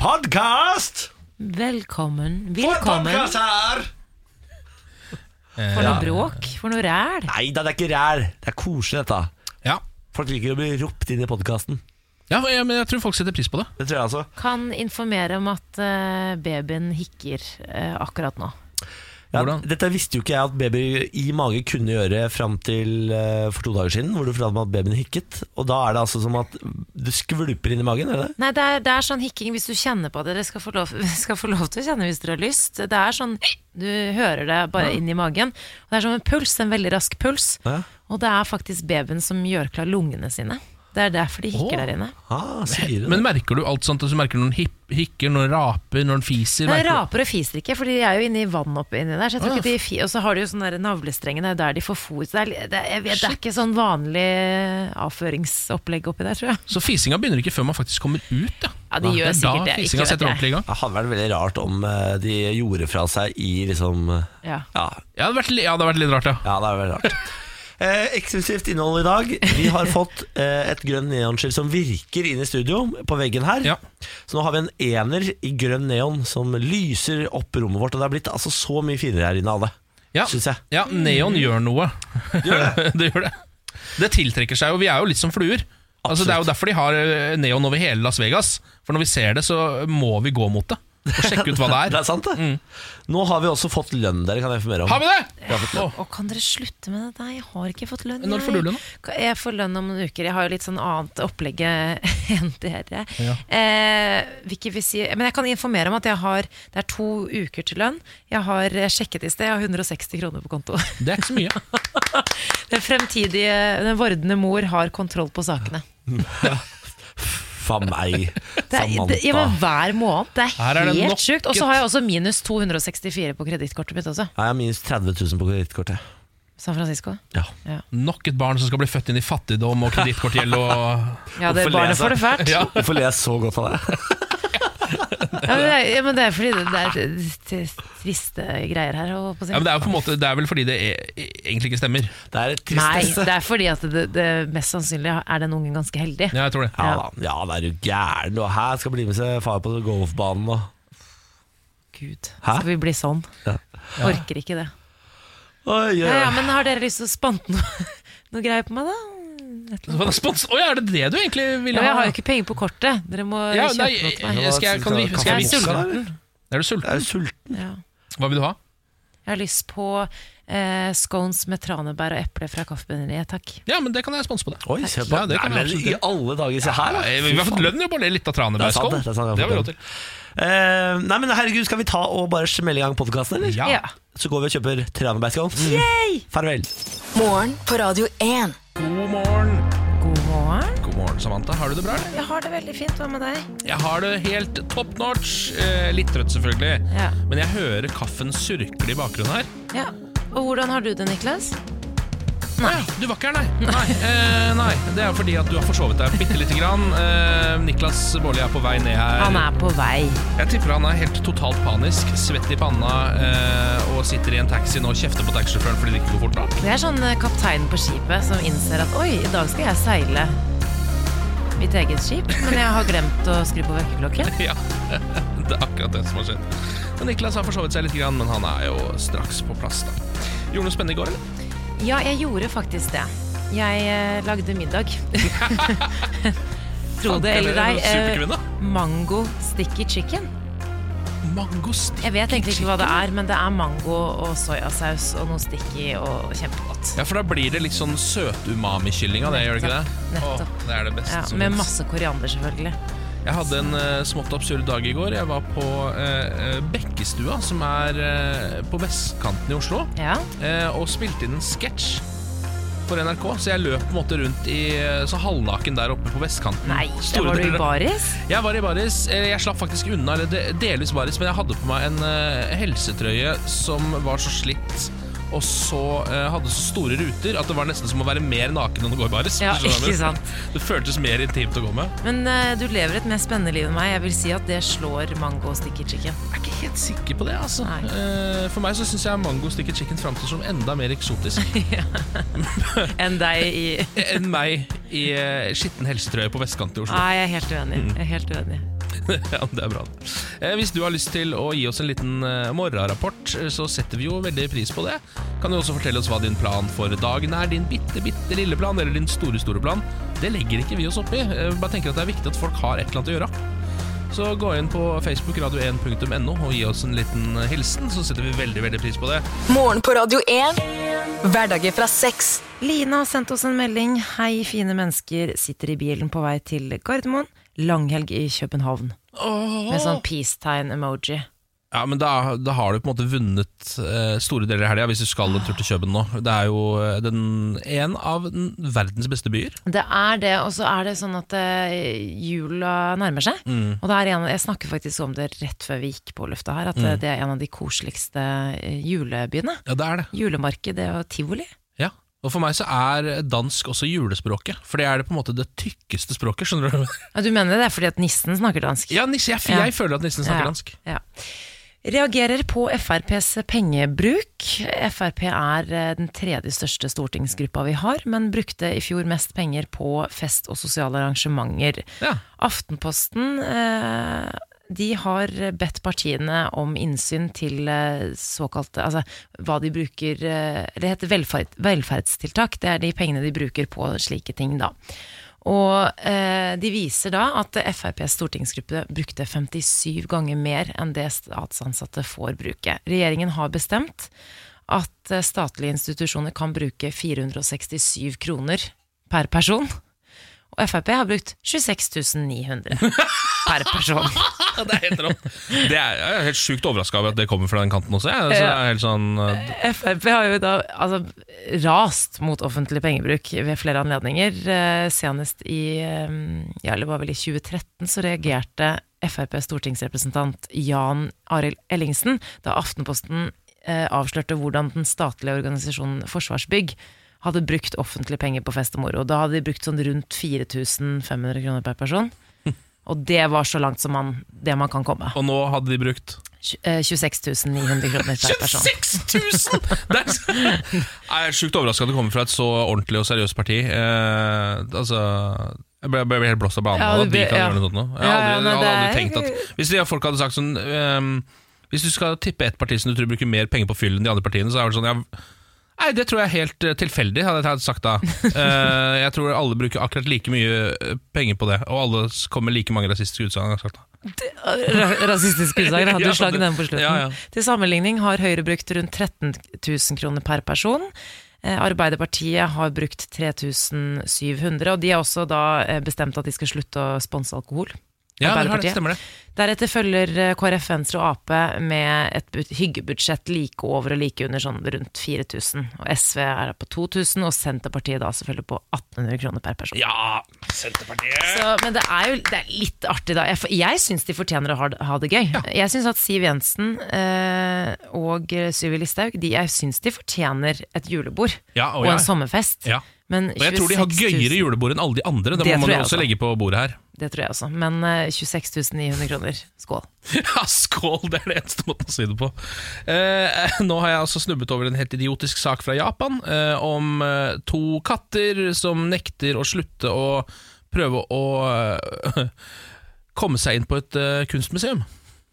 Podkast! Velkommen. Velkommen. her! For noe bråk. For noe ræl. Nei da, det er ikke ræl. Det er koselig, dette. Ja. Folk liker å bli ropt inn i podkasten. ja, ja, men jeg tror folk setter pris på det. Det tror jeg altså. Kan informere om at eh, babyen hikker eh, akkurat nå. Ja, Hvordan? dette visste jo ikke jeg at babyer i mage kunne gjøre fram til eh, for to dager siden, hvor du fortalte meg at babyen hikket. Og da er det altså som at du skvulper inn i magen, er det det? Nei, det er, det er sånn hikking hvis du kjenner på det. Dere skal få, lov, skal få lov til å kjenne hvis dere har lyst. Det er sånn Du hører det bare inn i magen. Og det er som en puls, en veldig rask puls. Ja. Og det er faktisk babyen som gjør klar lungene sine. Det er derfor de hikker Åh. der inne. Ah, sier du det? Men merker du alt sånt? Altså, merker du når den hip- hikker, når den raper, når den fiser? Nei, merker du- raper og fiser ikke, for de er jo inne i vann oppe inni der. Så jeg tror ikke de fi og så har de jo sånne der navlestrenger, det er der de får fôr. Så det er, li- det, er- jeg vet, det er ikke sånn vanlig avføringsopplegg oppi der, tror jeg. Så fisinga begynner ikke før man faktisk kommer ut, da. Ja, de gjør det er sikkert da det. Ikke fisinga vet setter ordentlig jeg. i gang. Det hadde vært veldig rart om eh, de gjorde fra seg i liksom eh, Ja. Ja, Ja, det hadde vært, li- ja, det hadde vært litt rart, ja. ja det er veldig rart. Eh, eksklusivt innhold i dag. Vi har fått eh, et grønn neonskilt som virker inn i studio, på veggen her. Ja. Så nå har vi en ener i grønn neon som lyser opp rommet vårt. Og det er blitt altså så mye finere her inne, alle. Ja, Synes jeg. ja neon gjør noe. det gjør det. Det tiltrekker seg jo. Vi er jo litt som fluer. Altså, det er jo derfor de har eh, neon over hele Las Vegas. For når vi ser det, så må vi gå mot det. Og sjekke ut hva det Det er. er sant, det. Mm. Nå har vi også fått lønn, dere kan jeg informere om. Har vi det? Vi har fått lønn. Åh, Og kan dere slutte med det? Nei, jeg har ikke fått lønn. Når jeg. får du lønn, Jeg får lønn om noen uker. Jeg har jo litt sånn annet opplegg enn dere. Ja. Eh, hvilket vil si, men jeg kan informere om at jeg har, det er to uker til lønn. Jeg har eh, sjekket i sted, jeg har 160 kroner på konto. det er ikke så mye. Den fremtidige, den vordende mor har kontroll på sakene. Faen meg, Det er, Samantha. det, ja, men hver måned. Det Her er, er det nok helt sjukt. Og så et- har jeg også minus 264 på kredittkortet mitt også. Jeg har minus 30 000 på kredittkortet. San Francisco. Ja. Nok et barn som skal bli født inn i fattigdom og kredittkortgjeld og Ja, det Hvorfor barnet leser får det fælt. Ja. Ja. Hvorfor ler jeg så godt av det? men det er, ja, men det er fordi det, det er t- t- triste greier her. holdt på å si. Ja, men det er jo på en måte Det er vel fordi det er, egentlig ikke stemmer. Det er et Nei, tristesse. det er fordi at det, det mest sannsynlig er den ungen ganske heldig. Ja, jeg tror det. Ja da, ja, da er du gæren. Og her skal bli med seg far på golfbanen. Og. Gud, Hæ? skal vi bli sånn? Ja. Orker ikke det. Oi, oi, Ja, ja, oi. men har dere lyst til å spante noe, noe greier på meg, da? Så hva er det Spons Å ja, er det det du egentlig Ja, ville men ha? jeg har jo ikke penger på kortet. Dere må Ja, kjøpe nei, noe til meg. jeg- skal jeg, kan vi, skal jeg Jeg er vise deg? sulten. Er du sulten? Er du sulten? Ja. Hva vil du ha? Jeg har lyst på eh, scones med tranebær og eple fra Kaffebrenneriet, takk. Ja, men det kan jeg sponse på det. Oi, se på Ja, det kan Nei, men jeg absolutt I gjøre. alle dager, se her. da. Ja, Fy vi har fått faen. lønn jo bare litt av Det er sant, tranebærskål. det. Det er sant, jeg har Det har vi fått råd til. Eh, nei, men herregud, skal vi ta og bare smelle i gang podkasten, eller? Ja. Mm. Ja. Så går vi og kjøper tranebærskål. Farvel. Morgen på Radio 1. God morgen. God morgen. God morgen, Samantha. Har du det bra? eller? Jeg har det veldig fint. Hva med deg? Jeg har det helt top notch. Eh, litt trøtt, selvfølgelig. Ja. Men jeg hører kaffen surkle i bakgrunnen her. Ja. Og hvordan har du det, Niklas? Nei. Du var ikke her, nei. Nei, eh, nei. Det er fordi at du har forsovet deg bitte lite grann. Eh, Niklas Baarli er på vei ned her. Han er på vei. Jeg tipper han er helt totalt panisk, svett i panna eh, og sitter i en taxi nå og kjefter på taxisjåføren fordi det ikke går fort nok. Det er sånn eh, kaptein på skipet som innser at oi, i dag skal jeg seile mitt eget skip, men jeg har glemt å skru på vekkerklokken. Ja, det er akkurat det som har skjedd. Men Niklas har forsovet seg litt, grann, men han er jo straks på plass. da. Gjorde du noe spennende i går, eller? Ja, jeg gjorde faktisk det. Jeg eh, lagde middag. Tro det eller ei. eh, Superkvinne. Mango sticky chicken. Mango sticky Jeg vet egentlig ikke hva det chicken. er, men det er mango og soyasaus og noe sticky og kjempegodt. Ja, for da blir det litt sånn søtumami-kylling av det, gjør det ikke det? Nettopp. Åh, det er det beste Ja, som med finnes. masse koriander, selvfølgelig. Jeg hadde en eh, smått absurd dag i går. Jeg var på eh, eh, Bekkestua, som er eh, på vestkanten i Oslo. Ja. eh, og spilte inn en sketsj for NRK. Så jeg løp på en måte rundt i eh, så halvnaken der oppe på vestkanten. Nei, der Store var du deler- i baris. Jeg var i baris. eh, Jeg slapp faktisk unna, eller de- delvis baris, men jeg hadde på meg en eh, helsetrøye som var så slitt. Og så eh, hadde så store ruter at det var nesten som å være mer naken enn å gå i baris. Ja, Skjønner du hva jeg ikke mener? sant. Det føltes mer intimt å gå med. Men eh, du lever et mer spennende liv enn meg. Jeg vil si at det slår mango sticky chicken. Jeg er ikke helt sikker på det. altså Nei. Eh, For meg så syns jeg mango sticky chicken framstår som enda mer eksotisk. Enn deg i enn meg i eh, skitten helsetrøye på vestkanten i Oslo. Nei, jeg er helt uenig. Jeg er helt uenig. ja, det er bra. Eh, Hvis du har lyst til å gi oss en liten eh, morgenrapport, eh, så setter vi jo veldig pris på det. Kan du også fortelle oss hva din plan for dagen er? Din bitte, bitte lille plan, eller din store, store plan? Det legger ikke vi oss opp i. Eh, vi Bare tenker at det er viktig at folk har et eller annet å gjøre. Så gå inn på Facebook radio1.no og gi oss en liten eh, hilsen, så setter vi veldig, veldig pris på det. Morgen på Radio 1. Hverdager fra seks. Line har sendt oss en melding. Hei, fine mennesker. Sitter i bilen på vei til Gardermoen. Langhelg i København. Med sånn peace-tegn-emoji. Ja, men da, da har du på en måte vunnet eh, store deler av helga hvis du skal en tur til København nå. Det er jo eh, den, en av den verdens beste byer. Det er det, og så er det sånn at eh, jula nærmer seg. Mm. Og det er en, jeg snakker faktisk om det rett før vi gikk på lufta her, at Mm. eh, det er en av de koseligste eh, julebyene. Ja, det er det. Julemarked og tivoli. Ja. Og for meg så er dansk også julespråket, for det er det på en måte det tykkeste språket. skjønner du? Ja, du mener det er fordi at nissen snakker dansk? Ja, Nisse, jeg, Ja. jeg føler at nissen snakker dansk. Ja. Reagerer på FrPs pengebruk. Frp er eh, den tredje største stortingsgruppa vi har, men brukte i fjor mest penger på fest og sosiale arrangementer. Ja. Aftenposten eh, de har bedt partiene om innsyn til eh, såkalte Altså hva de bruker eh, Det heter velferd, velferdstiltak. Det er de pengene de bruker på slike ting, da. Og eh, de viser da at FrPs stortingsgruppe brukte 57 ganger mer enn det statsansatte får bruke. Regjeringen har bestemt at eh, statlige institusjoner kan bruke 467 kroner per person. Og Frp har brukt 26 900 per person. Ja, det er helt rått. Det er, jeg er helt sjukt overraska over at det kommer fra den kanten også. Jeg. Så det er helt sånn, eh, Frp har jo da altså, rast mot offentlig pengebruk ved flere anledninger. Eh, Senest i eh, ja, det var vel i 2013 så reagerte FrPs stortingsrepresentant Jan Arild Ellingsen da Aftenposten eh, avslørte hvordan den statlige organisasjonen Forsvarsbygg hadde brukt offentlige penger på fest og moro. Da hadde de brukt sånn rundt 4500 kroner per person. Og det var så langt som man, det man kan komme. og nå hadde de brukt Tj- eh, 26 900 kroner per person. 26 000! Det er, så- jeg er sjukt overraska at det kommer fra et så ordentlig og seriøst parti. Eh, altså jeg ble, ble helt blåst av banen Ja, du av at de ble- kan ja. gjøre noe sånt nå. Jeg Ja, har ja, aldri, nei, jeg hadde aldri det tenkt er- at Hvis de folk hadde sagt sånn ehm, Hvis du skal tippe ett parti som du tror bruker mer penger på fyll enn de andre partiene, så er det sånn ja, Nei, det tror jeg er helt eh, tilfeldig, hadde jeg hadde sagt da. Eh, jeg tror alle bruker akkurat like mye eh, penger på det, og alle s- kommer med like mange rasistiske utsagn. hadde jeg sagt da. Ra- Rasistisk utsagn. Hadde Ja, du slaget det- den på slutten? ja, ja. Til sammenligning har Høyre brukt rundt 13 000 kroner per person. Eh, Arbeiderpartiet har brukt 3700, og de har også da eh, bestemt at de skal slutte å sponse alkohol. Ja, det, har det, Arbeiderpartiet. stemmer det. Deretter følger eh, KrF, Venstre og Ap med et bu- hyggebudsjett like over og like under sånn rundt 4000. Og SV er på 2000, og Senterpartiet da selvfølgelig på 1800 kroner per person. Ja, Senterpartiet! Så, men det er jo det er litt artig, da. Jeg, f- jeg syns de fortjener å ha, det- ha det gøy. Jeg syns at Siv Jensen eh, og eh, Sylvi Listhaug de, Jeg syns de fortjener et julebord Ja, og og ja. en sommerfest. Ja. Men Og jeg tror de har 26 000 gøyere julebord enn alle de andre. Det, Det må tror man jeg jo også også. legge på bordet her. Det tror jeg også. Men eh, 26 900 kroner. Skål. Ja, skål! Det er det eneste måten å si det på. Eh, nå har jeg altså snubbet over en helt idiotisk sak fra Japan eh, om eh, to katter som nekter å slutte å prøve å eh, komme seg inn på et eh, kunstmuseum.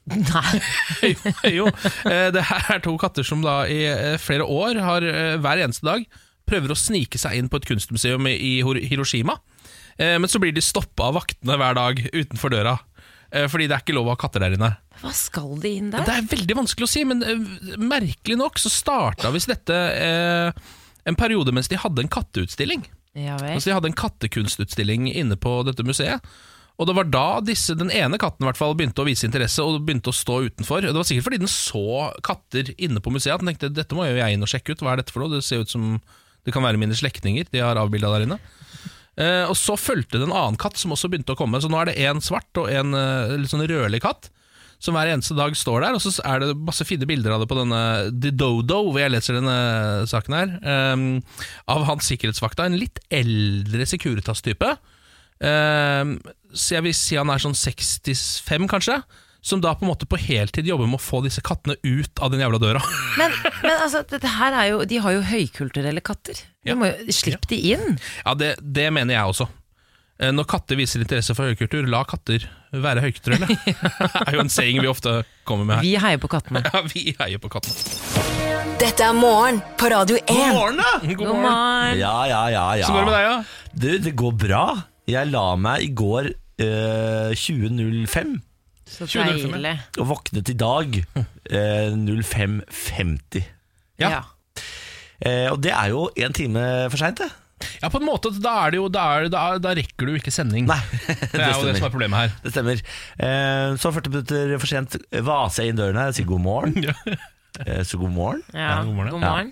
Nei. jo, jo. Eh, det her er to katter som da i eh, flere år har eh, hver eneste dag prøver å snike seg inn på et kunstmuseum i i Hor- Hiroshima. Eh, men så blir de stoppa av vaktene hver dag utenfor døra. Eh, fordi det er ikke lov å ha katter der inne. Hva skal de inn der? Det er veldig vanskelig å si, men eh, merkelig nok så starta visst dette eh, en periode mens de hadde en katteutstilling. Ja vel. Altså De hadde en kattekunstutstilling inne på dette museet. Og det var da disse, den ene katten i hvert fall begynte å vise interesse og begynte å stå utenfor. Det var sikkert fordi den så katter inne på museet at den tenkte dette må jo jeg inn og sjekke ut. Hva er dette for noe? Det ser ut som det kan være mine slektninger de har avbilda der inne. Eh, og Så fulgte det en annen katt som også begynte å komme. Så nå er det en svart og en eh, litt sånn rødlig katt. Som hver eneste dag står der, og så er det masse fine bilder av det på denne The Dodo, hvor jeg leser denne saken her, ehm, av hans sikkerhetsvakta. En litt eldre Securitas-type. Ehm, så jeg vil si han er sånn 65, kanskje. Som da på en måte på heltid jobber med å få disse kattene ut av den jævla døra. Men, men altså, dette her er jo, de har jo høykulturelle katter. Ja. De må jo, slipp de inn. Ja, det, det mener jeg også. Eh, Når katter viser interesse for høykultur, la katter være høykulturelle. Det er jo en saying vi ofte kommer med her. Vi heier på kattene. Ja, vi heier på kattene. Dette er morgen på Radio 1. morgen, da! God God morgen. morgen! Ja, ja, ja, ja. Så går det med deg, ja? Du, det går bra. Jeg la meg i går eh, 20.05 Så 20.05, deilig. og våknet i dag eh, 05.50. Ja. Ja. Eh, og det er jo en time for seint, det. Ja, på en måte. altså, Da, er det jo, da, er, det- da, da rekker du ikke sending. Nei, det er jo det som er problemet her. Det stemmer. Eh, så 40 minutter for sent vaser jeg inn dørene og sier god morgen. Ja. Eh, så god morgen. Ja, god god morgen. morgen.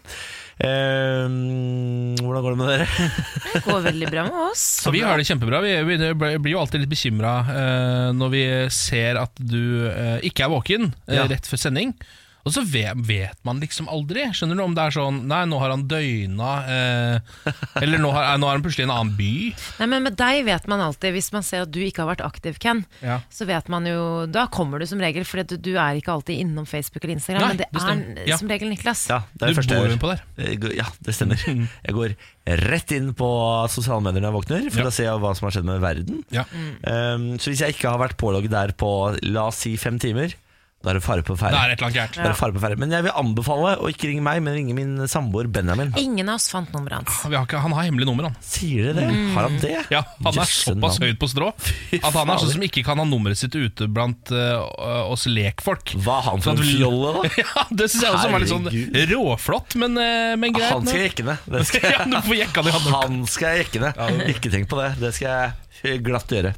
Eh, hvordan går det med dere? Det går veldig bra med oss. Så vi har det kjempebra. Vi, vi det ble- blir jo alltid litt bekymra når vi ser at du eh, ikke er våken eh, Ja. rett før sending. Og så vet, vet man liksom aldri. Skjønner du om det er sånn Nei, nå har han døgna. eh, eller nå har, eh, nå har han plutselig en annen by. Nei, men Med deg vet man alltid, hvis man ser at du ikke har vært aktiv, Ken, Ja. så vet man jo Da kommer du som regel, for du, du er ikke alltid innom Facebook eller Instagram, Nei, men det, det stemmer. er Ja. som regel Niklas. Ja, det er Du første jeg bor gjør. jo på Mm. der. Jeg går- Ja, det stemmer. Jeg går rett inn på sosiale medier når jeg våkner, for Ja. å se hva som har skjedd med verden. Ja. Um, så hvis jeg ikke har vært pålogget der på la oss si fem timer, da er det fare på Det ferde. er et eller annet gærent. Da er det fare på ferde. Men jeg vil anbefale å ikke ringe meg, men ringe min samboer Benjamin. Ingen av oss fant nummeret hans. Vi har ikke, han har hemmelig nummer, han. Sier dere det? Har han det? Ja, Han er Jøsse såpass navn. høyt på strå at han er sånn som ikke kan ha nummeret sitt ute blant eh, oss lekfolk. Hva er han for Sånn en at vi- fjolle, da? Ja, Det syns jeg også var litt sånn Herregud. råflott, men, eh, men greit. Han skal men- jeg jekke ned. Det skal ja, du får jekka di hadde Han skal jeg jekke ned. Ikke tenk på det. Det skal jeg glatt gjøre.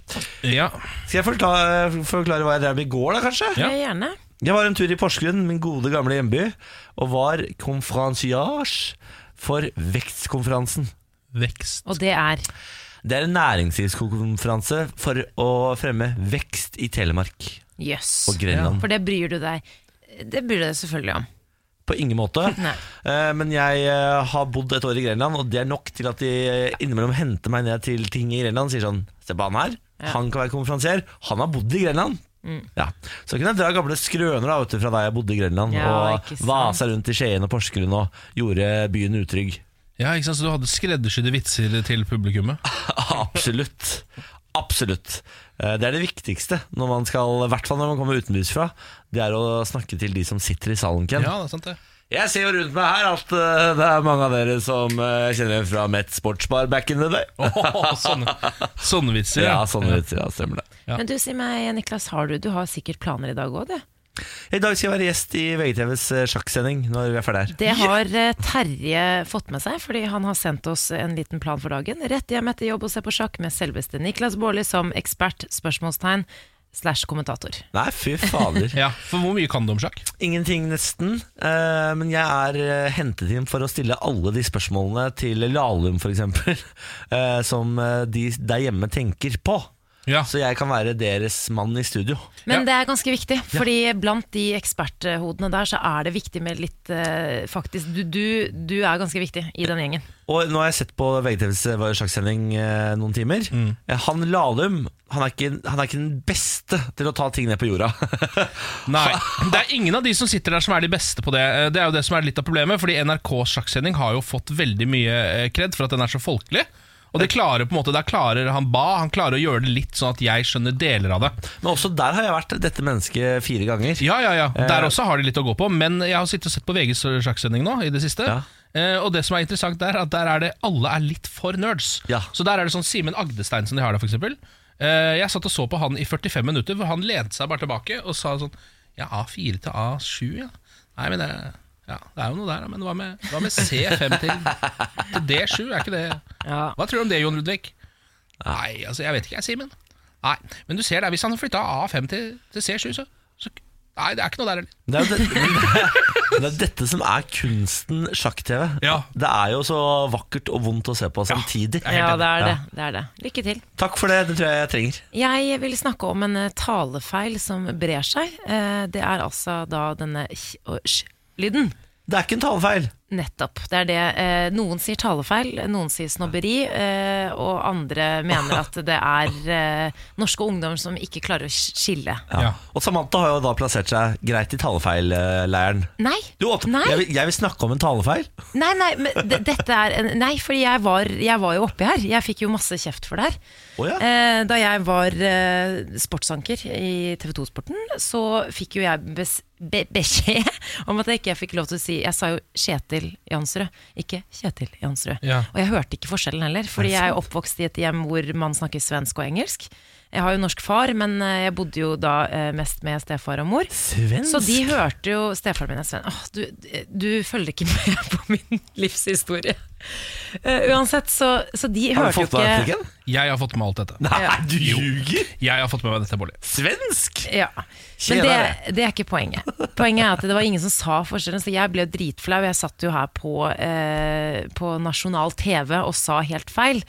Ja. Skal jeg forklare, forklare hva jeg drev med i går, da, kanskje? Ja. Ja. Gjerne. Jeg var en tur i Porsgrunn, min gode gamle hjemby, og var konferansiage for Vekstkonferansen. Vekst. Og det er Det er en næringslivskonferanse for å fremme vekst i Telemark jøss. og Grenland. For det bryr du deg Det bryr du deg selvfølgelig om. På ingen måte. Nei. Eh, Men jeg eh, har bodd et år i Grenland, og det er nok til at de eh, innimellom henter meg ned til ting i Grenland og sier sånn Se på han her. Han kan være konferansier. Han har bodd i Grenland. Mm. Ja. Så kunne jeg dra gamle skrøner da, vet du, fra da jeg bodde i Grenland, Ja, og ikke sant. vasa rundt i Skien og Porsgrunn og gjorde byen utrygg. Ja, ikke sant, Så du hadde skreddersydde vitser til publikummet? Absolutt. Absolutt. Eh, Det er det viktigste, når man skal, i hvert fall når man kommer utenbys fra. Det er å snakke til de som sitter i salen, Ken. Ja, det er sant det. Jeg ser jo rundt meg her at eh, det er mange av dere som eh, kjenner igjen fra Met Sportsbar back in the day. Åh, sånne, sånne vitser. Ja, sånn ut, ja, stemmer det. Ja. Men du, si meg, Niklas, har du, du har sikkert planer i dag òg, du? I dag skal jeg være gjest i VGTVs eh, sjakksending når vi er ferdig her. Det har eh, Terje fått med seg, fordi han har sendt oss en liten plan for dagen. Rett hjem etter jobb og se på sjakk med selveste Niklas Baarli som ekspert, spørsmålstegn, slash kommentator. Nei, fy fader. Ja, For hvor mye kan du om sjakk? Ingenting nesten. eh, men jeg er eh, hentet inn for å stille alle de spørsmålene til Lahlum f.eks. Uh, som eh, de der hjemme tenker på. Ja, Så jeg kan være deres mann i studio. Men Ja. det er ganske viktig, fordi blant de eksperthodene der, så er det viktig med litt eh, Faktisk, du, du, du er ganske viktig i den gjengen. Og nå har jeg sett på VGTVs sjakksending eh, noen timer. Mm. Eh, Han Lahlum han er, ikke, han er ikke den beste til å ta ting ned på jorda. nei Det er ingen av de som sitter der som er de beste på det. Eh, Det er jo det som er litt av problemet, fordi NRKs sjakksending har jo fått veldig mye eh, kred for at den er så folkelig. Og det klarer på en måte, der klarer han ba, han klarer å gjøre det litt sånn at jeg skjønner deler av det. Men også der har jeg vært dette mennesket fire ganger. Ja, ja, ja. Eh. Der også har de litt å gå på. Men jeg har sittet og sett på VGs sjakksending nå i det siste. Ja. Eh, og det som er interessant der, er at der er det alle er litt for nerds. Ja. Så der er det sånn Simen Agdestein som de har der, f.eks. Eh, jeg satt og så på han i 45 minutter, hvor han lente seg bare tilbake og sa sånn Ja, A4 til A7, ja. Nei, men det ja, det er jo noe der, da, men hva med, hva med C5 til, til D7? Er ikke det Ja. Hva tror du om det, Jon Ludvig? Nei, altså, jeg vet ikke, jeg, Simen. Nei, men du ser der, hvis han har flytta A5 til, til C7, så, så Nei, det er ikke noe der heller. Det er, jo det, men det er dette som er kunsten sjakk-TV. Ja. Det er jo så vakkert og vondt å se på samtidig. helt Ja, enig. det er Ja. det. det er det. Lykke til. Takk for det, det tror jeg jeg trenger. Jeg vil snakke om en eh, talefeil som brer seg. Eh, Det er altså da denne kj- og sj-lyden. Det er ikke en talefeil. Nettopp. Det er det. Eh, noen sier talefeil, noen sier snobberi, eh, eh, og andre mener at det er eh, norske ungdommer som ikke klarer å sk- skille. Ja. Ja. Og Samantha har jo da plassert seg greit i talefeilleiren. Nei, Du, Åtte, Nei. jeg, vil, jeg vil snakke om en talefeil. nei, nei, men d- dette er en, nei fordi jeg var, jeg var jo oppi her. Jeg fikk jo masse kjeft for det her. Å ja. Eh, Da jeg var eh, sportsanker i TV 2-sporten, så fikk jo jeg bes be beskjed om at jeg ikke fikk lov til å si Jeg sa jo Kjetil Jansrud, ikke Kjetil Jansrud. Ja. Og jeg hørte ikke forskjellen heller, fordi jeg er oppvokst i et hjem hvor man snakker svensk og engelsk. Jeg har jo norsk far, men eh, jeg bodde jo da eh, mest med stefar og mor. Svensk? Så de hørte jo Stefaren min er svensk. Åh, du, du følger ikke med på min livshistorie. Eh, uansett, så, så de Har du hørte jo fått med deg ikke replikken? Jeg har fått med alt dette. Nei, Ja. du ljuger! Jeg har fått med meg dette, Bolli. Svensk! Ja. Men Tjenere. det, det er ikke poenget. Poenget er at det var ingen som sa forskjellen, så jeg ble jo dritflau. Jeg satt jo her på, eh, på nasjonal TV og sa helt feil.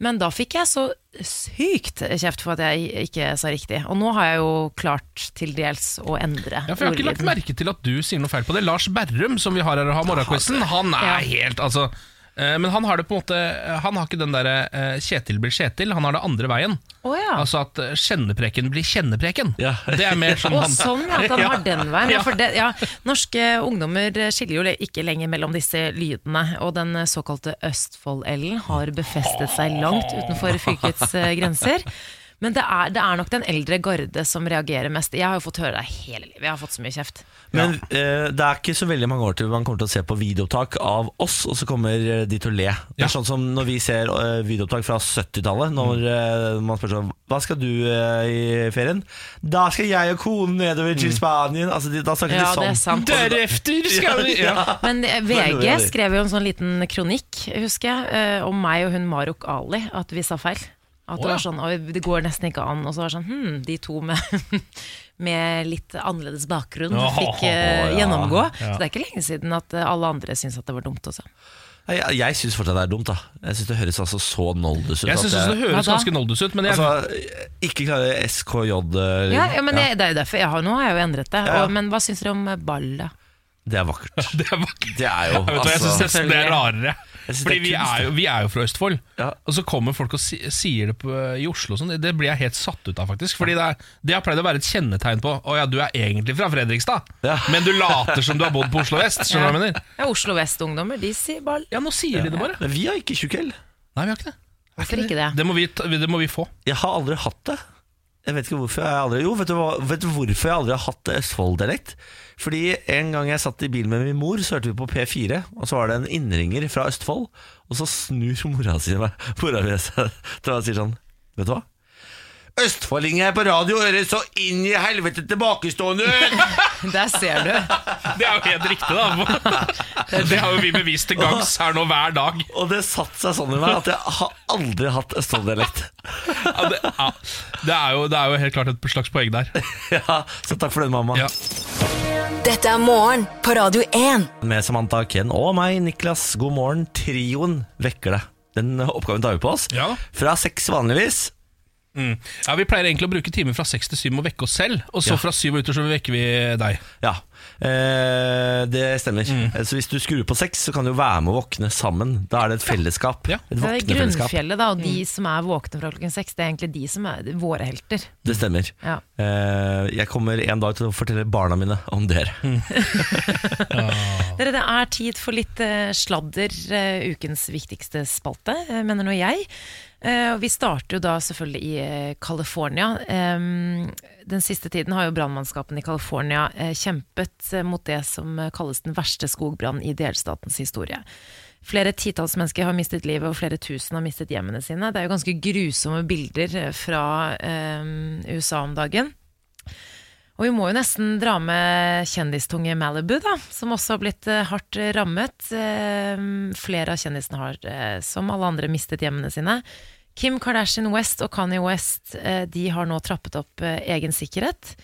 Men da fikk jeg så sykt kjeft for at jeg ikke sa riktig. Og nå har jeg jo klart til dels å endre Ja, for Jeg har ikke lagt merke til at du sier noe feil på det. Lars Berrum, som vi har her og har morgenquizen, han er Ja. helt altså eh, men han har det på en måte Han har ikke den derre eh, Kjetil blir Kjetil, han har det andre veien. Å ja. Altså at eh, kjennepreken blir kjennepreken. Ja. Det er mer sånn Å, han sånn, ja, at han Ja. har den veien. Ja, Ja. for det, ja, norske ungdommer skiller jo le- ikke lenger mellom disse lydene, og den såkalte Østfold-L-en har befestet seg langt utenfor fylkets eh, grenser. Men det er, det er nok den eldre garde som reagerer mest. Jeg har jo fått høre det hele livet. Jeg har fått så mye kjeft. Men eh, det er ikke så veldig mange år til man kommer til å se på videoopptak av oss, og så kommer eh, de til å le. Det Ja. er sånn som når vi ser eh, videoopptak fra 70-tallet, når Mm. eh, man spør sånn Hva skal du eh, i ferien? Da skal jeg og konen nedover Mm. til Spanien. Altså, de, da snakker Ja, de det sånn. er sant. Deretter skal vi ja. Men eh, Veldig, VG veldig. skrev jo en sånn liten kronikk, husker jeg, eh, om meg og hun Maruk Ali, at vi sa feil. At det Å, ja. var sånn, «Oi, det går nesten ikke an. Og så var det sånn, hm, de to med, med litt annerledes bakgrunn Å, fikk eh, ja. gjennomgå. Så det er ikke lenge siden at eh, alle andre syntes at det var dumt også. Nei, Jeg, jeg syns fortsatt det er dumt. da Jeg syns det høres altså så noldus ut. Jeg at syns jeg- det høres Hva da? ganske noldus ut, men jeg, altså, Ikke klare SKJ. eh, Ja, ja, men jeg- Det er jo derfor jeg har nå, har jeg jo endret det. ja. Og, men hva syns dere om eh, ballet? Det er vakkert. det er vakkert. Det er jo Ja, vet du hva, Jeg syns altså, nesten det er rarere. Jeg synes Fordi det er vi kunst, er, jo, vi er jo fra Østfold, Ja. og så kommer folk og si, sier det på, i Oslo. og Sånn. Det blir jeg helt satt ut av, faktisk. Fordi det, er, det har pleid å være et kjennetegn på Å ja, du er egentlig fra Fredrikstad, Ja. men du later som du har bodd på Oslo vest. Skjønner du hva jeg mener? Ja, Oslo Vest-ungdommer, de sier ball. Ja, nå sier de det bare. Men vi har ikke tjukkel. Nei, vi har ikke det. Er Hvorfor ikke det? Det må vi, ta- det må vi få. Jeg har aldri hatt det. Jeg vet ikke hvorfor jeg aldri Jo, vet du, hva, vet du hvorfor jeg aldri har hatt Østfold-dialekt? Fordi en gang jeg satt i bilen med min mor, så hørte vi på P4, og så var det en innringer fra Østfold, og så snur mora si meg Mora mi seg til meg og sier sånn Vet du hva? Østfoldinger er på radio høres så inn i helvete tilbakestående ut! Der ser du. Det er jo helt riktig, da. Det har jo vi bevist til gangs her nå hver dag. Og det satte seg sånn i meg at jeg har aldri hatt Østfold-dialekt. Ja, det, ja. Det, er jo, det er jo helt klart et slags poeng der. Ja, så takk for den, mamma. Ja. Dette er morgen på Radio 1. Med Samantha, Ken og meg, Niklas. God morgen. Trioen vekker deg. Den oppgaven tar vi på oss. Ja. Fra seks vanligvis. Mm. Ja, Vi pleier egentlig å bruke timer fra seks til syv med å vekke oss selv, og så Ja. fra syv og utover så vekker vi deg. Ja, eh, det stemmer. Mm. Så hvis du skrur på seks, så kan du jo være med å våkne sammen. Da er det et fellesskap. Ja. Et Det er våknefellesskap. grunnfjellet, da, og Mm. de som er våkne fra klokken seks, det er egentlig de som er våre helter. Det stemmer. Ja. Eh, jeg kommer en dag til å fortelle barna mine om dere. Mm. Dere, det er tid for litt eh, sladder, eh, ukens viktigste spalte, eh, mener nå jeg. Eh, og vi starter jo da selvfølgelig i eh, California. Em, den siste tiden har jo brannmannskapen i California eh, kjempet eh, mot det som eh, kalles den verste skogbrannen i delstatens historie. Flere titalls mennesker har mistet livet, og flere tusen har mistet hjemmene sine. Det er jo ganske grusomme bilder eh, fra em, USA om dagen. Og vi må jo nesten dra med kjendistunge Malibu, da, som også har blitt eh, hardt rammet. Eh, flere av kjendisene har, eh, som alle andre, mistet hjemmene sine. Kim Kardashian West og Kanye West eh, de har nå trappet opp eh, egen sikkerhet.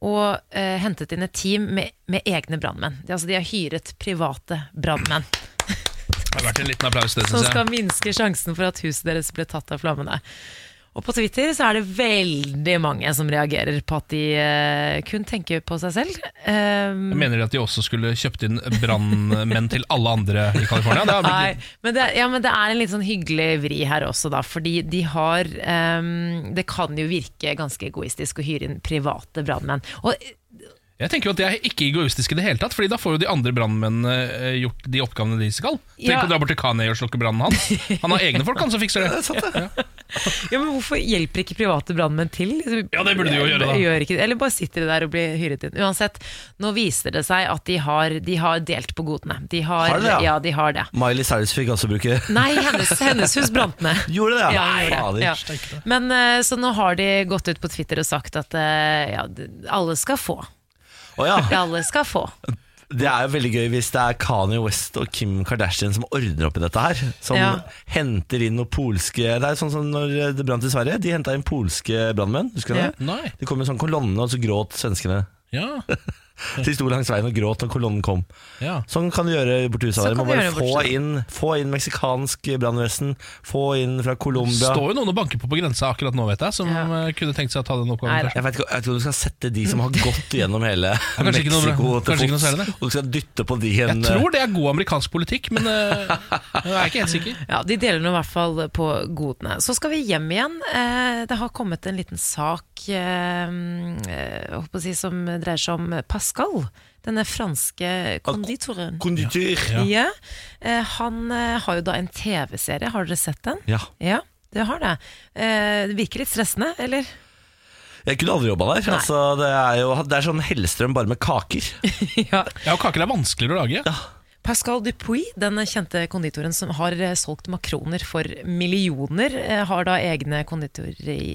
Og eh, hentet inn et team med, med egne brannmenn. De, altså, de har hyret private brannmenn. Det har vært en liten applaus, det Som synes skal jeg. minske sjansen for at huset deres ble tatt av flammene. Og på Twitter så er det veldig mange som reagerer på at de eh, kun tenker på seg selv. Um, Mener de at de også skulle kjøpt inn brannmenn til alle andre i California? Det har Nei, blitt, men det, ja, men det er en litt sånn hyggelig vri her også, da. Fordi de har ehm, Det kan jo virke ganske egoistisk å hyre inn private brannmenn. Og jeg tenker jo at det er ikke egoistisk i det hele tatt, Fordi da får jo de andre brannmennene eh, gjort de oppgavene de skal. Tenk Ja. å dra bort til Kanye og slukke brannen hans. Han har egne folk han som fikser det. ja, men hvorfor hjelper ikke private brannmenn til? Ja, det burde de jo gjøre, da. Gjør ikke, det. eller bare sitter de der og blir hyret inn. Uansett, nå viser det seg at de har, de har delt på godene. De har, Har de det, ja? ja? de har det. Miley Cyrus fikk også bruke Nei, hennes, hennes hus brant ned. Gjorde det, Ja, Nei, hun gjorde fader. det. Ja. Men eh, så nå har de gått ut på Twitter og sagt at eh, ja, alle skal få. Å ja. Alle skal få. Det er jo veldig gøy hvis det er Kanye West og Kim Kardashian som ordner opp i dette her. Som Ja. henter inn noen polske Det er sånn som når det brant i Sverige. De henta inn polske brannmenn. Husker du Ja. det? Nei. De kom i sånn kolonne, og så gråt svenskene. Ja. De sto langs veien og gråt når kolonnen kom. ja. Sånn kan du gjøre borti USA. Sånn Dere må kan du bare gjøre borti få USA. inn, få inn meksikansk brannvesen, få inn fra Colombia Står jo noen og banker på på grensa akkurat nå, vet jeg, som Ja. eh, kunne tenkt seg å ta den Nei, oppgaven da. først. Jeg vet, ikke, jeg vet ikke om du skal sette de som har gått gjennom hele kanskje ikke noe bra. Mexico til Kanskje ikke noe fots, særlig, det. og du skal dytte på de Jeg en eh, tror det er god amerikansk politikk, men eh, jeg er ikke helt sikker. Ja, De deler nå i hvert fall på godene. Så skal vi hjem igjen. Eh, Det har kommet en liten sak eh, eh, jeg håper å si, som dreier seg om Pascal. Denne franske konditoren. kondityr. ja. Ja. Eh, Han eh, har jo da en TV-serie. Har dere sett den? Ja. Ja, det har det. Eh, Det virker litt stressende, eller? Jeg kunne aldri jobba der. Nei. Altså, det, er jo, det er sånn Hellstrøm bare med kaker. ja. Ja, og Kaker er vanskeligere å lage. Pascal Dupuy, den kjente konditoren som har eh, solgt makroner for millioner, eh, har da egne konditorer i,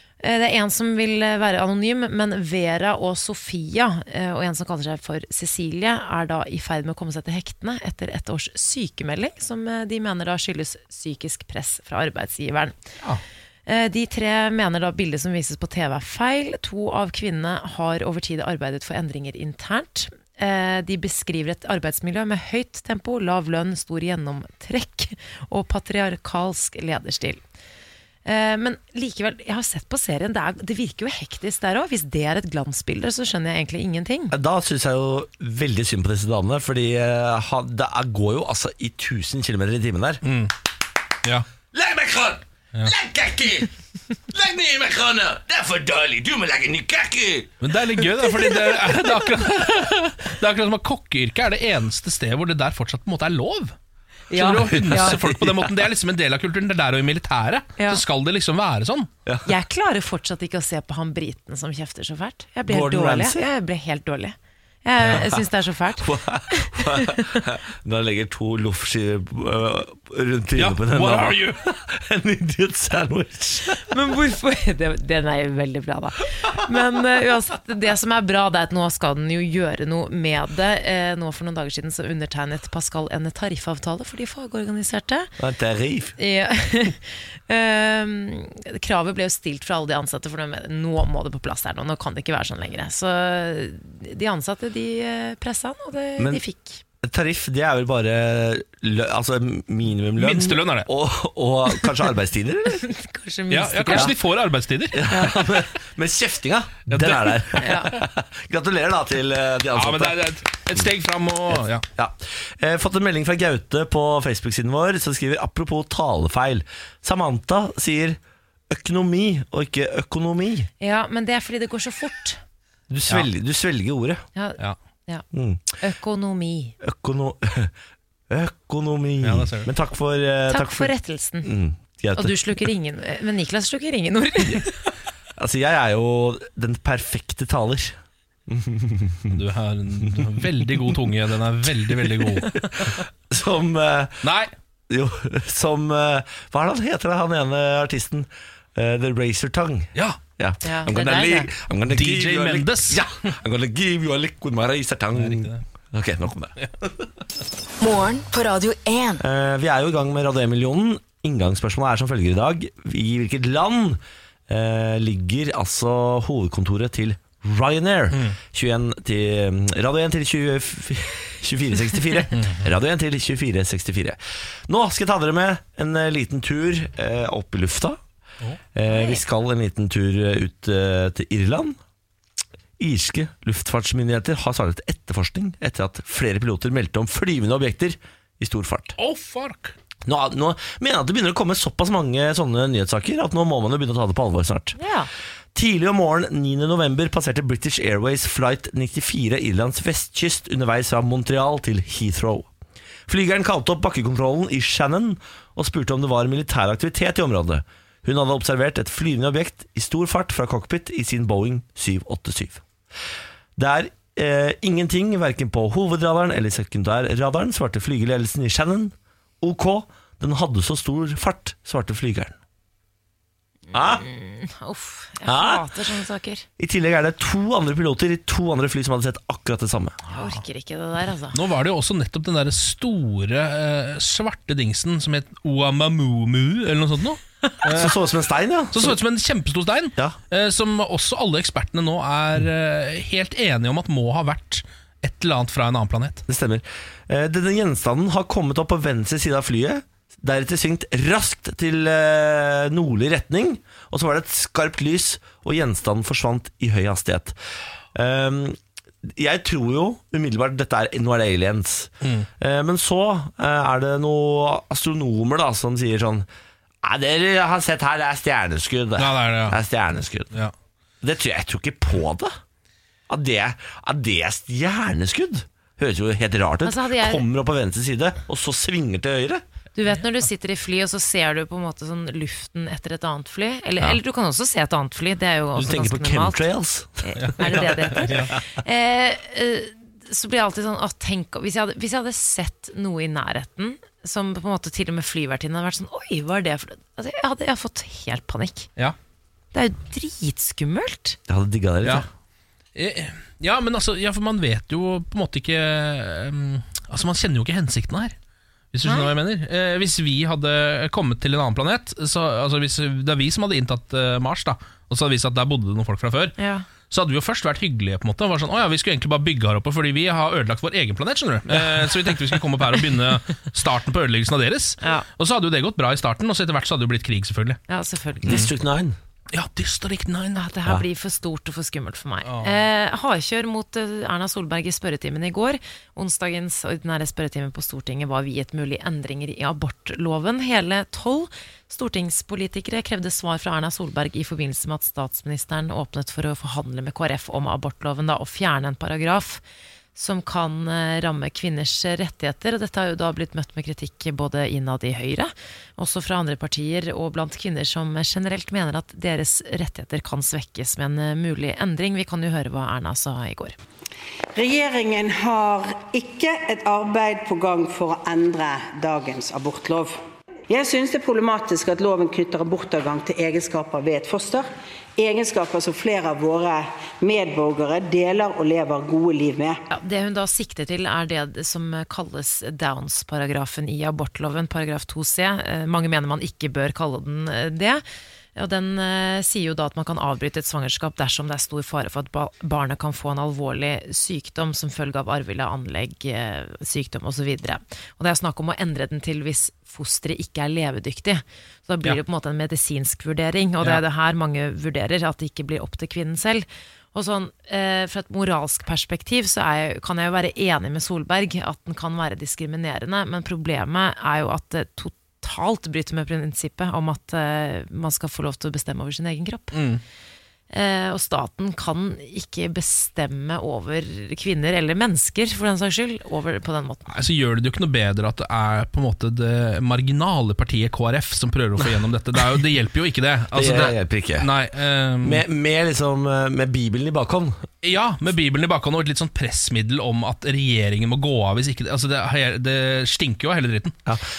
Eh, Det er en som vil eh, være anonym, men Vera og Sofia, eh, og en som kaller seg for Cecilie, er da i ferd med å komme seg til hektene etter ett års sykemelding, som eh, de mener da skyldes psykisk press fra arbeidsgiveren. Ja. Eh, De tre mener da bildet som vises på TV er feil. To av kvinnene har over tid arbeidet for endringer internt. Eh, De beskriver et arbeidsmiljø med høyt tempo, lav lønn, stor gjennomtrekk og patriarkalsk lederstil. Eh, Men likevel, jeg har sett på serien, det, er, det virker jo hektisk der òg. Hvis det er et glansbilde, så skjønner jeg egentlig ingenting. Da syns jeg jo veldig synd på disse damene, Fordi eh, ha- det er- går jo altså i 1000 km i timen der. Mm. Ja. Legg meg kran! Legg kake! Legg meg i makroner! Det er for dårlig! Du må legge ny kake! Men det er litt gøy, da, fordi det er, det er akkurat Det er akkurat som at kokkeyrket er det eneste stedet hvor det der fortsatt på en måte er lov. Ja. Skjønner du, å hunse Ja. folk på den måten Det er liksom en del av kulturen. Det er der og i militæret Ja. Så skal det liksom være sånn. Jeg klarer fortsatt ikke å se på han briten som kjefter så fælt. Jeg blir helt Gordon dårlig. Ramsay? Jeg blir helt dårlig. Jeg, jeg syns det er så fælt. Når jeg legger to loffskiver eh, rundt trynet Ja, på den what dama. are you? En idiot sandwich. Men hvorfor det, Den er jo veldig bra, da. Men eh, uansett, det som er bra, det er at nå skal den jo gjøre noe med det. Eh, nå For noen dager siden så undertegnet Pascal en tariffavtale for de fagorganiserte. Det er riv. Ja. Ehm, kravet ble jo stilt fra alle de ansatte, for de- nå må det på plass der nå. Nå kan det ikke være sånn lenger. Så de ansatte de pressa han, og det, Men- de fikk. Tariff det er vel bare lø, altså minimumlønn Minstelønn er det. Og, og kanskje arbeidstider, eller? Kanskje Ja, minst. ja, kanskje de får arbeidstider. Ja, Men kjeftinga, Ja, den det- er der. Gratulerer da til eh, de ansatte. men det er det er et, et steg fram og ja. Ja. Eh, fått en melding fra Gaute på Facebook-siden vår som skriver apropos talefeil. Samantha sier økonomi og ikke økonomi. ja, men det er fordi det går så fort. Du svelger, du svelger ordet. Ja, Ja. ja. Mm. Økonomi. Økono økonomi. Ja, det ser du. Men takk for, eh, Takk for rettelsen. Mm, Gaute. Og du slukker ingen Men Niklas slukker ingen ord. Altså, jeg er jo den perfekte taler. Du har en du har veldig god tunge. Den er veldig, veldig god. Som eh, Nei! Jo, som eh, Hva er det han heter, han ene artisten? Eh, The Razor Tongue. Ja! Ja. Ja, I'm det er gonna deg, li- det. I'm gonna give DJ you a lick- Mendes. Ja, I'm gonna give you a lick with my razor tongue. det. Ok, nok om det. Morgen på Radio 1. Eh, vi er jo i gang med Radio 1-millionen. Inngangsspørsmålet er som følger i dag. I hvilket land eh, ligger altså hovedkontoret til Ryanair? 21 til, mm, radio 1 til 20, 2464. Radio 1 til 2464. Nå skal jeg ta dere med en eh, liten tur eh, opp i lufta. Eh, vi skal en liten tur eh, ut eh, til Irland. Irske luftfartsmyndigheter har startet etterforskning etter at flere piloter meldte om flyvende objekter i stor fart. Oh, fuck! Nå, nå mener jeg at det begynner å komme såpass mange sånne nyhetssaker at nå må man jo begynne å ta det på alvor snart. Ja. Tidlig om morgenen 9. november passerte British Airways flight 94 Irlands vestkyst underveis fra Montreal til Heathrow. Flygeren kalte opp bakkekontrollen i Shannon og spurte om det var militær aktivitet i området. Hun hadde observert et flyvende objekt i stor fart fra cockpit i sin Boeing 787. Det er eh, ingenting, verken på hovedradaren eller sekundærradaren, svarte flygeledelsen i Shannon. Ok, den hadde så stor fart, svarte flygeren. Ah? Uff, jeg Hæ? hater sånne saker. I tillegg er det to andre piloter i to andre fly som hadde sett akkurat det samme. Jeg orker ikke det der, altså. Nå var det jo også nettopp den der store eh, svarte dingsen som het Oamamumu, eller noe sånt noe. Som så ut som en stein, ja. Som så ut som en kjempestor stein, Ja. eh, som også alle ekspertene nå er eh, helt enige om at må ha vært et eller annet fra en annen planet. Det stemmer. Eh, Denne gjenstanden har kommet opp på venstre side av flyet, deretter svingt raskt til eh, nordlig retning, og så var det et skarpt lys, og gjenstanden forsvant i høy hastighet. Ehm, jeg tror jo umiddelbart dette er, nå er det aliens. Mm. Eh, men så eh, er det noen astronomer da, som sier sånn Nei, dere jeg har sett her, det er stjerneskudd. Ja, det er det, ja. er stjerneskudd. Ja. Det tror jeg, jeg tror ikke på det. At det, at det er stjerneskudd. Høres jo helt rart ut. Altså, hadde jeg- Kommer opp på venstre side, og så svinger til høyre. Du vet når du sitter i fly, og så ser du på en måte sånn luften etter et annet fly? Eller, eller du kan også se et annet fly, det er jo Du også tenker på Altså, ganske normalt. chemtrails. Er det det det heter? Eh, eh, så blir jeg alltid sånn, å, tenk, om- hvis, jeg hadde, hvis jeg hadde sett noe i nærheten, som på en måte til og med flyvertinnen hadde vært sånn, oi, hva er det for noe? altså, jeg, hadde, jeg hadde fått helt panikk. Ja. Det er jo dritskummelt. Jeg hadde digga det litt. Ja. jeg. Eh, ja, men altså, ja, for man vet jo på en måte ikke ehm, Altså, man kjenner jo ikke hensikten her. Hvis du skjønner hva jeg mener eh, Hvis vi hadde kommet til en annen planet så, altså, hvis, Det er vi som hadde inntatt eh, Mars, da og så hadde det vist seg at der bodde det noen folk fra før. Ja. Så hadde vi jo først vært hyggelige. på en måte Var sånn, «Å ja, Vi skulle egentlig bare bygge her oppe, fordi vi har ødelagt vår egen planet. skjønner du eh, Så vi tenkte vi skulle komme opp her og begynne starten på ødeleggelsen av deres. Ja. Og så hadde jo det gått bra i starten, og så etter hvert så hadde det jo blitt krig, selvfølgelig. Ja, selvfølgelig. District 9. Ja, District 9, Ja, da. det her blir for stort og for skummelt for meg. Eh, hardkjør mot eh, Erna Solberg i spørretimen i går. Onsdagens ordinære spørretime på Stortinget var viet mulige endringer i abortloven. Hele tolv stortingspolitikere krevde svar fra Erna Solberg i forbindelse med at statsministeren åpnet for å forhandle med KrF om abortloven da, og fjerne en paragraf som kan eh, ramme kvinners rettigheter. Og dette har jo da blitt møtt med kritikk både innad i Høyre, også fra andre partier, og blant kvinner som generelt mener at deres rettigheter kan svekkes med en eh, mulig endring. Vi kan jo høre hva Erna sa i går. Regjeringen har ikke et arbeid på gang for å endre dagens abortlov. Jeg synes det er problematisk at loven knytter abortadgang til egenskaper ved et foster. Egenskaper som flere av våre medborgere deler og lever gode liv med. Ja, det hun da sikter til, er det som kalles Downs-paragrafen i abortloven, paragraf 2c. Eh, Mange mener man ikke bør kalle den eh, det. Og den eh, sier jo da at man kan avbryte et svangerskap dersom det er stor fare for at ba barnet kan få en alvorlig sykdom som følge av arvelig anlegg, eh, sykdom osv. Og, og det er snakk om å endre den til hvis fosteret ikke er levedyktig. Så da blir det på en måte en medisinsk vurdering, og det er det her mange vurderer, at det ikke blir opp til kvinnen selv. Og sånn, eh, Fra et moralsk perspektiv så er jeg, kan jeg jo være enig med Solberg at den kan være diskriminerende, men problemet er jo at det totalt bryter med prinsippet om at eh, man skal få lov til å bestemme over sin egen kropp. Mm. Eh, og staten kan ikke bestemme over kvinner, eller mennesker for den saks skyld, over på den måten. Nei, så gjør det det jo ikke noe bedre at det er på en måte det marginale partiet KrF som prøver å få gjennom dette. Det, er jo, det hjelper jo ikke, det. Altså, Det hjelper ikke. Nei, ehm, Med, med, liksom, eh, med Bibelen i bakhånd. ja, med Bibelen i bakhånd og et litt sånn pressmiddel om at regjeringen må gå av hvis ikke det- altså, det, det stinker jo av hele dritten.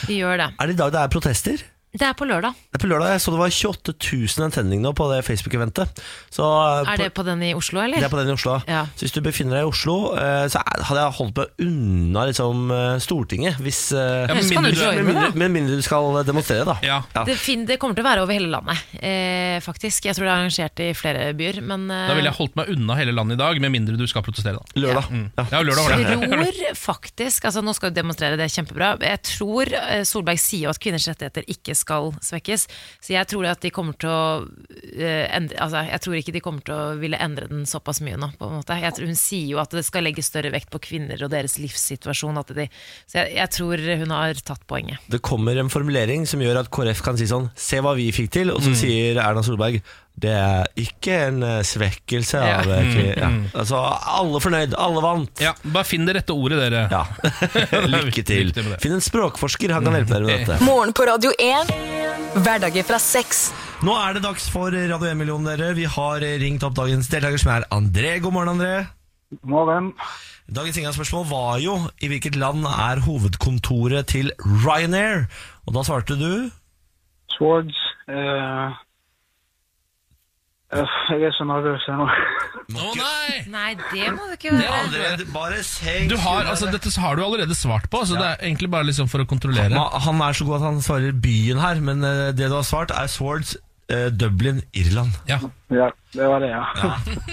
De gjør det. Er det i dag det er protester? Det er på lørdag. Det er På lørdag jeg så det var 28 000 antenning nå på det Facebook-eventet. Så, eh, Er det på den i Oslo, eller? Det er på den i Oslo. Ja. Så hvis du befinner deg i Oslo, eh, så er- hadde jeg holdt meg unna liksom, eh, Stortinget. Hvis, eh, Ja, men Helst kan mindre du ikke du- med, ordne mindre, det. med mindre du skal demonstrere, da. Ja. Det, fin det kommer til å være over hele landet, eh, faktisk. Jeg tror det er arrangert i flere byer. Men eh, Da ville jeg holdt meg unna hele landet i dag, med mindre du skal protestere. da Lørdag. Ja. Mm. Ja, lørdag var det. tror faktisk altså Nå skal du demonstrere, det er kjempebra. Jeg tror eh, Solberg sier jo at kvinners rettigheter ikke skal svekkes. Så jeg tror at de kommer til å eh, endre, altså, Jeg tror ikke de kommer til å ville endre den såpass mye nå. På en måte. Jeg tror, hun sier jo at det skal legges større vekt på kvinner og deres livssituasjon. At de, så jeg, jeg tror hun har tatt poenget. Det kommer en formulering som gjør at KrF kan si sånn Se hva vi fikk til, og så sier Erna Solberg det er ikke en eh, svekkelse av Ja. eh, kvi- ja. Altså, alle fornøyd, alle vant. Ja, Bare finn det rette ordet, dere. Ja. Lykke til. Lykke til med det. Finn en språkforsker, han kan hjelpe dere med dette. Morgen på Radio 1. Hverdager fra seks. Nå er det dags for Radio 1-million, dere. Vi har eh, ringt opp dagens deltaker, som er André. God morgen, André. Morgen. Dagens inngangsspørsmål var jo i hvilket land er hovedkontoret til Ryanair? Og da svarte du Swords. eh, eh, jeg er så nervøs her nå. Å nei! Nei, det må du ikke gjøre. André, du bare senk Du har, altså, dette har du allerede svart på, så det er egentlig bare liksom for å kontrollere. Ma- Han er så god at han svarer byen her, men eh, det du har svart, er Swords, eh, Dublin, Irland. Ja. Ja, det var det, ja.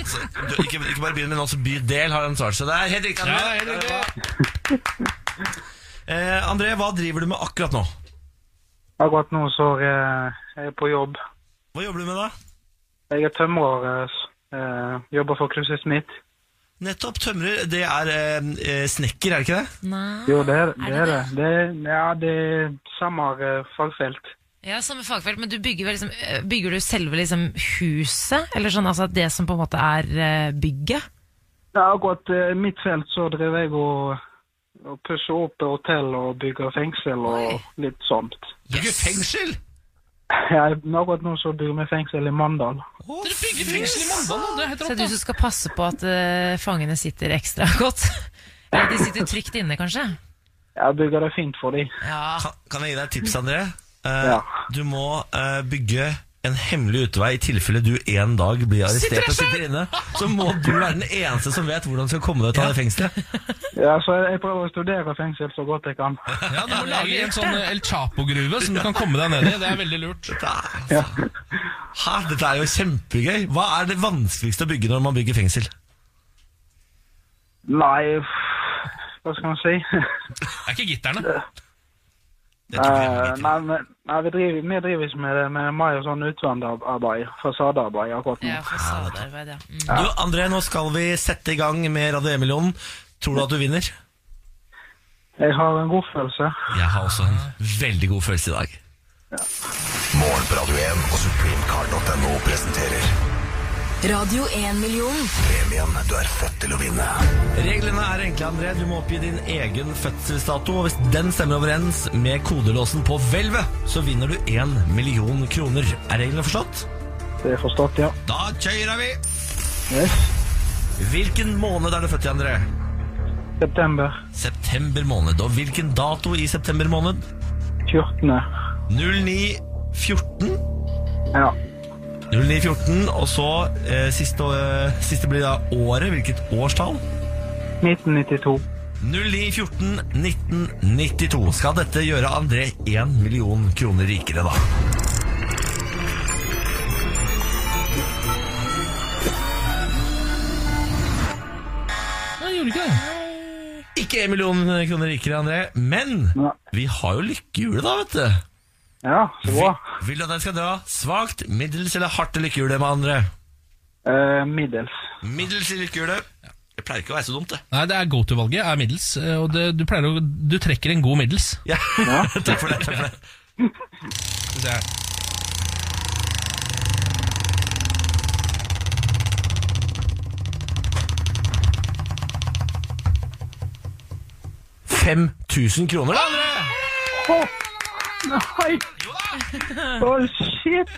Så, du, ikke, ikke bare byen, men også bydel har han svart. Så det er helt riktig. Ja, André. det er helt riktig. Eh, André, hva driver du med akkurat nå? Akkurat nå så er jeg- jeg er på jobb. Hva jobber du med da? Jeg er tømrer, eh, s- eh, jobber for Krusset Smith. Nettopp tømrer, det er eh, eh, snekker, er det ikke det? Nei. Jo, det Ah, er det. Er det. det er, ja, det er samme eh, fagfelt. Ja, samme fagfelt, men du bygger, vel liksom, eh, bygger du selve liksom huset? Eller sånn, altså det som på en måte er eh, bygget? Ja, akkurat eh, mitt felt så drev jeg og, og pusset opp hotell og bygger fengsel og litt sånt. Bygger fengsel! Ja, men akkurat nå så bygger vi fengsel i Mandal. Dere bygger fengsel i Mandal, da. det er helt Så rått. du da. som skal passe på at eh, fangene sitter ekstra godt? Eller de sitter trygt inne, kanskje? Jeg bygger det fint for dem. Ja. Kan, kan jeg gi deg et tips, André? Eh, Ja. Du må eh, bygge en hemmelig utvei i tilfelle du en dag blir arrestert og sitter inne. Så må du være den eneste som vet hvordan du skal komme deg ut av det fengselet. Ja, så jeg, jeg prøver å studere fengsel så godt jeg kan. Ja, du må lage en sånn eh, El Chapo-gruve som du kan komme deg ned i. Det er veldig lurt. Det er- Hæ, dette er jo kjempegøy. Hva er det vanskeligste å bygge når man bygger fengsel? Nei, f- hva skal man si? Det er ikke gitterne. Det tror jeg er Eh, nei, men nei, vi driver, vi driver ikke med, det- med meg og sånn utvendarbeid, fasadearbeid akkurat nå. ja fasadearbeid, ja. Mm. Du, André, nå skal vi sette i gang med Radio E-millionen. Tror du at du vinner? Jeg har en god følelse. Jeg har også en veldig god følelse i dag. Morgen på Radio 1 og supremecard.no presenterer Radio 1-million. premien du er født til å vinne. Reglene er enkle, André. Du må oppgi din egen fødselsdato. og Hvis den stemmer overens med kodelåsen på hvelvet, så vinner du én million kroner. Er reglene forstått? Det er forstått, ja. Da kjører vi! Yes. Hvilken måned er du født i, André? September September måned. Og hvilken dato i september måned? 14. 0914. Ja. 0914, og så eh, siste, eh, siste blir da året. Hvilket årstall? 1992. 0914 1992. Skal dette gjøre André én million kroner rikere, da? Nei, gjorde ikke det. Ikke én million kroner rikere, André, men Ja. vi har jo lykkehjulet, da, vet du. ja, så Vi, bra. vil du at jeg skal dra svakt, middels eller hardt til lykkehjulet med andre? Eh, middels. Middels i lykkehjulet. Det pleier ikke å være så dumt, det. Nei, det er go-to-valget er middels, eh, og det, du, pleier å, du trekker en god middels. Ja. takk for det. Takk for det. Skal vi se her. Fem 5000 kroner, da, André! Nei! Å, shit!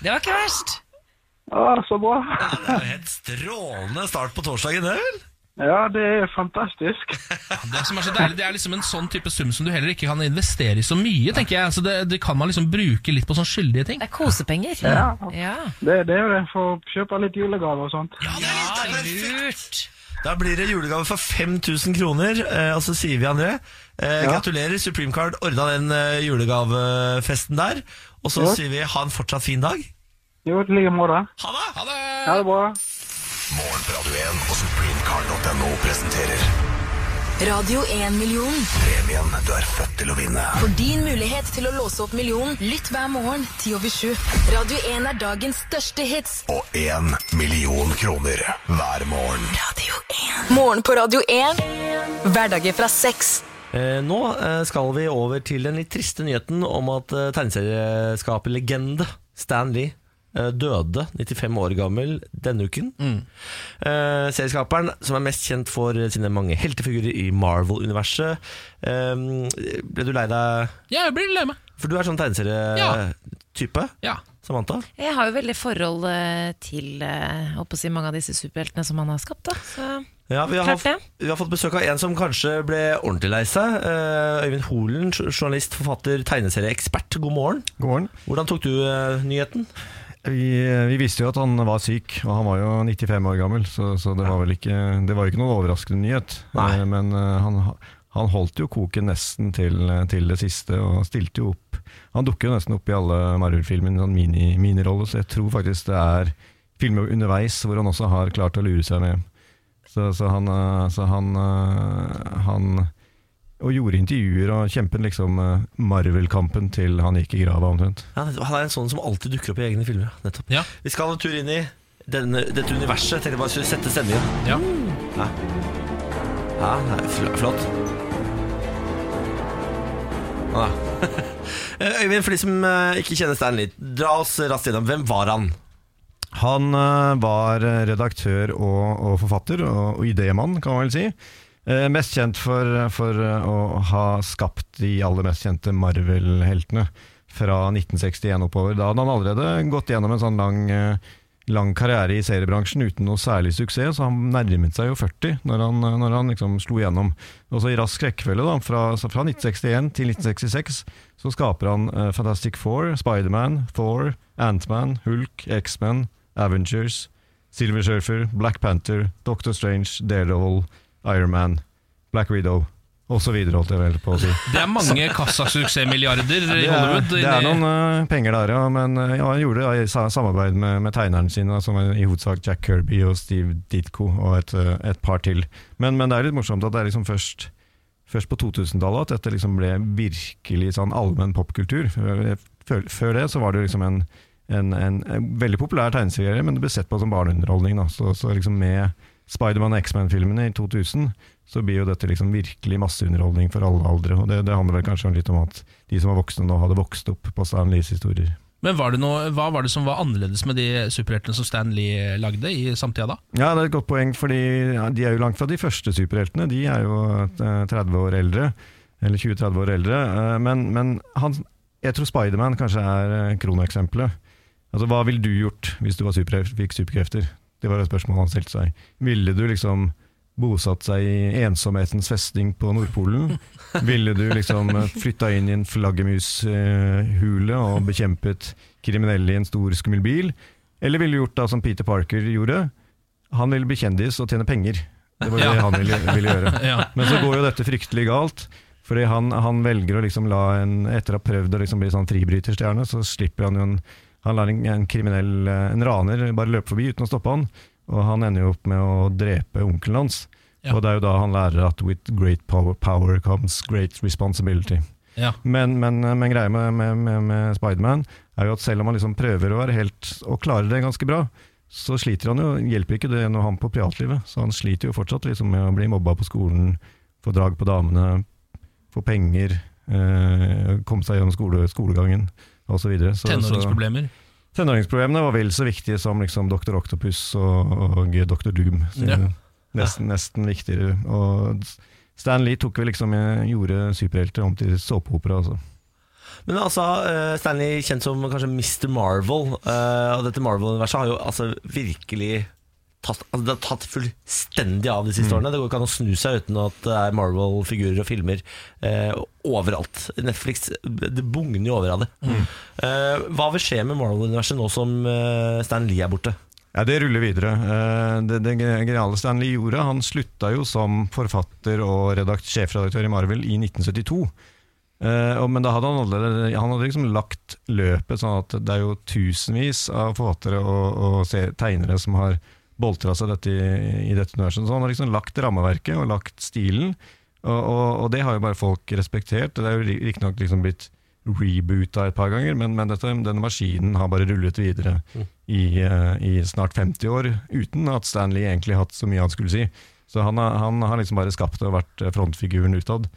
Det var ikke verst! Å, så bra. Det er jo helt strålende start på torsdagen, det, vel? Ja, det er fantastisk. Det som er så deilig, det er liksom en sånn type sum som du heller ikke kan investere i så mye, tenker jeg. Så det, det kan man liksom bruke litt på sånn skyldige ting. Det er kosepenger. Ja. ja. Det, det er jo det, for å kjøpe litt julegaver og sånt. Lurt. Da blir det julegave for 5000 kroner, eh, og så sier vi André eh, Ja. Gratulerer, Supreme Card ordna den eh, julegavefesten der. Og så Ja. sier vi ha en fortsatt fin dag. Jo, i like måte. Ha det! Ha det! Ha det bra. Morgen på Radio 1 og supremecard.no presenterer Radio 1 million. premien du er født til å vinne. For din mulighet til å låse opp millionen, lytt hver morgen 10 over 7. Radio 1 er dagens største hits. Og én million kroner hver morgen. Radio 1. Morgen på Radio 1. Hverdager fra seks. Eh, nå eh, skal vi over til den litt triste nyheten om at eh, tegneserieskaperlegende Stan Lee eh, døde, 95 år gammel, denne uken. Mm. Eh, serieskaperen, som er mest kjent for sine mange heltefigurer i Marvel-universet. Eh, ble du lei deg? Ja, jeg blir lei meg. For du er sånn tegneserietype, Ja. Samantha. Jeg har jo veldig forhold eh, til eh, håper å si, mange av disse superheltene som han har skapt. Da. Så, Ja, vi, har, Klart det. vi har fått besøk av en som kanskje ble ordentlig lei seg. Eh, Øyvind Holen, jo- journalist, forfatter, tegneserieekspert. God morgen. God morgen. Hvordan tok du eh, nyheten? Vi, eh, vi visste jo at han var syk, og han var jo 95 år gammel, så, så det var vel ikke, det var jo ikke noen overraskende nyhet. Nei. Eh, Men eh, han, han holdt jo koken nesten til, eh, til det siste, og stilte jo opp. Han dukker jo nesten opp i alle Marvel-filmene, sånn mini- miniroller, så jeg tror faktisk det er filmer underveis hvor han også har klart å lure seg med. Så, så, han, eh, så han, eh, han og gjorde intervjuer og kjempet liksom eh, Marvel-kampen til han gikk i grava omtrent. Ja, han er en sånn som alltid dukker opp i egne filmer. ja, Nettopp. Ja. Vi skal en tur inn i denne, dette universet. Jeg tenkte bare skulle sette stemningen. Ja. Ja, ja det er fl flott. Ja. Eh, Øyvind, for de som eh, ikke kjenner Stanley, dra oss raskt gjennom. Hvem var han? Han eh, var redaktør og, og forfatter, og, og idémann, kan man vel si. Eh, mest kjent for, for eh, å ha skapt de aller mest kjente Marvel-heltene fra 1961 oppover. Da hadde han allerede gått gjennom en sånn lang, eh, lang karriere i seriebransjen uten noe særlig suksess, så han nærmet seg jo 40 når han, eh, når han liksom slo gjennom. Og så i rask rekkefølge, da, fra, så fra 1961 til 1966, så skaper han eh, Fantastic Four, Spiderman, Thor, Ant-Man, Hulk, X-Men, Avengers, Silver Surfer, Black Panther, Doctor Strange, Daredevil, Iron Man, Black Widow, og så videre, holdt jeg vel på å si. Det er mange kassasuksessmilliarder i Det er, Hollywood. det inni- er noen eh, penger der, ja, men eh, ja, han gjorde det i sa- samarbeid med, med tegnerne sine, som er i hovedsak Jack Kirby og Steve Ditko, og et, eh, et par til. Men, men det er litt morsomt at det er liksom først først på 2000-tallet at dette liksom ble virkelig sånn allmenn popkultur. Før, før- før det så var det jo liksom en, en, en, en veldig populær tegneserie, men det ble sett på som barneunderholdning. Da. Så, så liksom med Spiderman og X-Men-filmene i 2000 så blir jo dette liksom virkelig masseunderholdning for alle aldre. Og det, det handler vel kanskje litt om at de som var voksne nå, hadde vokst opp på Stan Lees historier. Men var det noe, hva var det som var annerledes med de superheltene som Stan Lee eh, lagde i samtida da? Ja, det er et godt poeng, fordi ja, de er jo langt fra de første superheltene. De er jo eh, 30 år eldre, eller 20-30 år eldre. eh, Men, men han, jeg tror Spiderman kanskje er eh, kroneksempelet. Altså, hva ville du gjort hvis du var superhelt, fikk superkrefter? Det var et spørsmål han stilte seg. Ville du liksom bosatt seg i ensomhetens festning på Nordpolen? Ville du liksom eh, flytta inn i en flaggermushule og bekjempet kriminelle i en stor, skummel bil? Eller ville du gjort da som Peter Parker gjorde? Han ville bli kjendis og tjene penger. Det var det Ja. han ville, ville gjøre. Ja. Men så går jo dette fryktelig galt. Fordi han, han velger å liksom la en Etter å ha prøvd å liksom bli sånn fribryterstjerne, så slipper han jo en Han lar en, en kriminell, eh, en raner, bare løpe forbi uten å stoppe han. Og han ender jo opp med å drepe onkelen hans. Ja. Og det er jo da han lærer at with great power, power comes great responsibility. Ja. Men, men, eh, men greia med, med, med, med Spiderman er jo at selv om han liksom prøver å være helt og klarer det ganske bra, så sliter han jo, hjelper ikke det når han på privatlivet. Så han sliter jo fortsatt liksom med å bli mobba på skolen, få drag på damene, få penger, eh, komme seg gjennom skole, skolegangen osv. Tenåringsproblemer. Tenåringsproblemene var vel så viktige som liksom Dr. Octopus og, og Dr. Doom. Så Ja. Nesten, nesten viktigere. Og Stan Lee tok vel liksom, gjorde superhelter om til såpeopera. Altså. Men altså, eh, Stanley kjent som kanskje Mr. Marvel, eh, og dette Marvel-universet har jo altså virkelig tatt, altså det har tatt fullstendig av de siste årene. Det går ikke an å snu seg uten at det er Marvel-figurer og filmer eh, overalt. Netflix det bugner jo over av det. Eh, hva vil skje med Marvel-universet nå som eh, Stan Lee er borte? Ja, Det ruller videre. Eh, Det, det geniale Stanley gjorde, han slutta jo som forfatter og redakt, sjefredaktør i Marvel i 1972. Eh, og- Men da hadde han allerede Han hadde liksom lagt løpet, sånn at det er jo tusenvis av forfattere og, og se- tegnere som har boltra seg dette i, i dette universet. Så han har liksom lagt rammeverket og lagt stilen, og, og, og det har jo bare folk respektert. Det er jo ri- riktignok liksom blitt reboota et par ganger, men, men dette, denne maskinen har bare rullet videre i, eh, i snart 50 år, uten at Stanley egentlig hatt så mye han skulle si. Så han har, han har liksom bare skapt det og vært frontfiguren utad.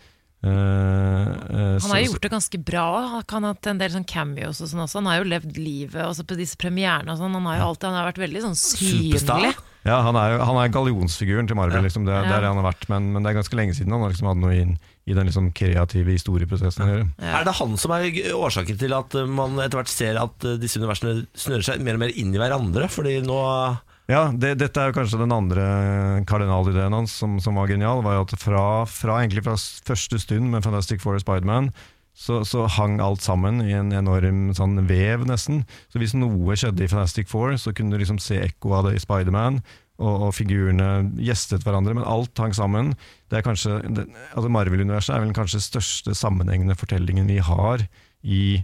Eh, eh, Han har så- jo gjort det ganske bra. Han har hatt en del sånn cameos og sånn også. Han har jo levd livet også på disse premierene og sånn. Han har jo alltid han har vært veldig sånn synlig. Superstar? Ja, han er, jo- han er gallionsfiguren til Marvel, liksom. det, er- det Ja. er det han har vært. Men, men det er ganske lenge siden han har liksom hadde noe inn i den liksom kreative historieprosessen å gjøre. Er det han som er g- årsaken til at eh, man etter hvert ser at eh, disse universene snører seg mer og mer inn i hverandre? Fordi nå Ja, det, dette er jo kanskje den andre kardinalideen hans som, som var genial, var jo at fra, fra egentlig fra s- første stund med Fantastic Four og Spiderman, så, så hang alt sammen i en enorm sånn vev nesten. Så hvis noe skjedde i Fantastic Four, så kunne du liksom se ekko av det i Spiderman, og, og figurene gjestet hverandre, men alt hang sammen. Det er kanskje, det, altså Marvel-universet er vel den kanskje største sammenhengende fortellingen vi har i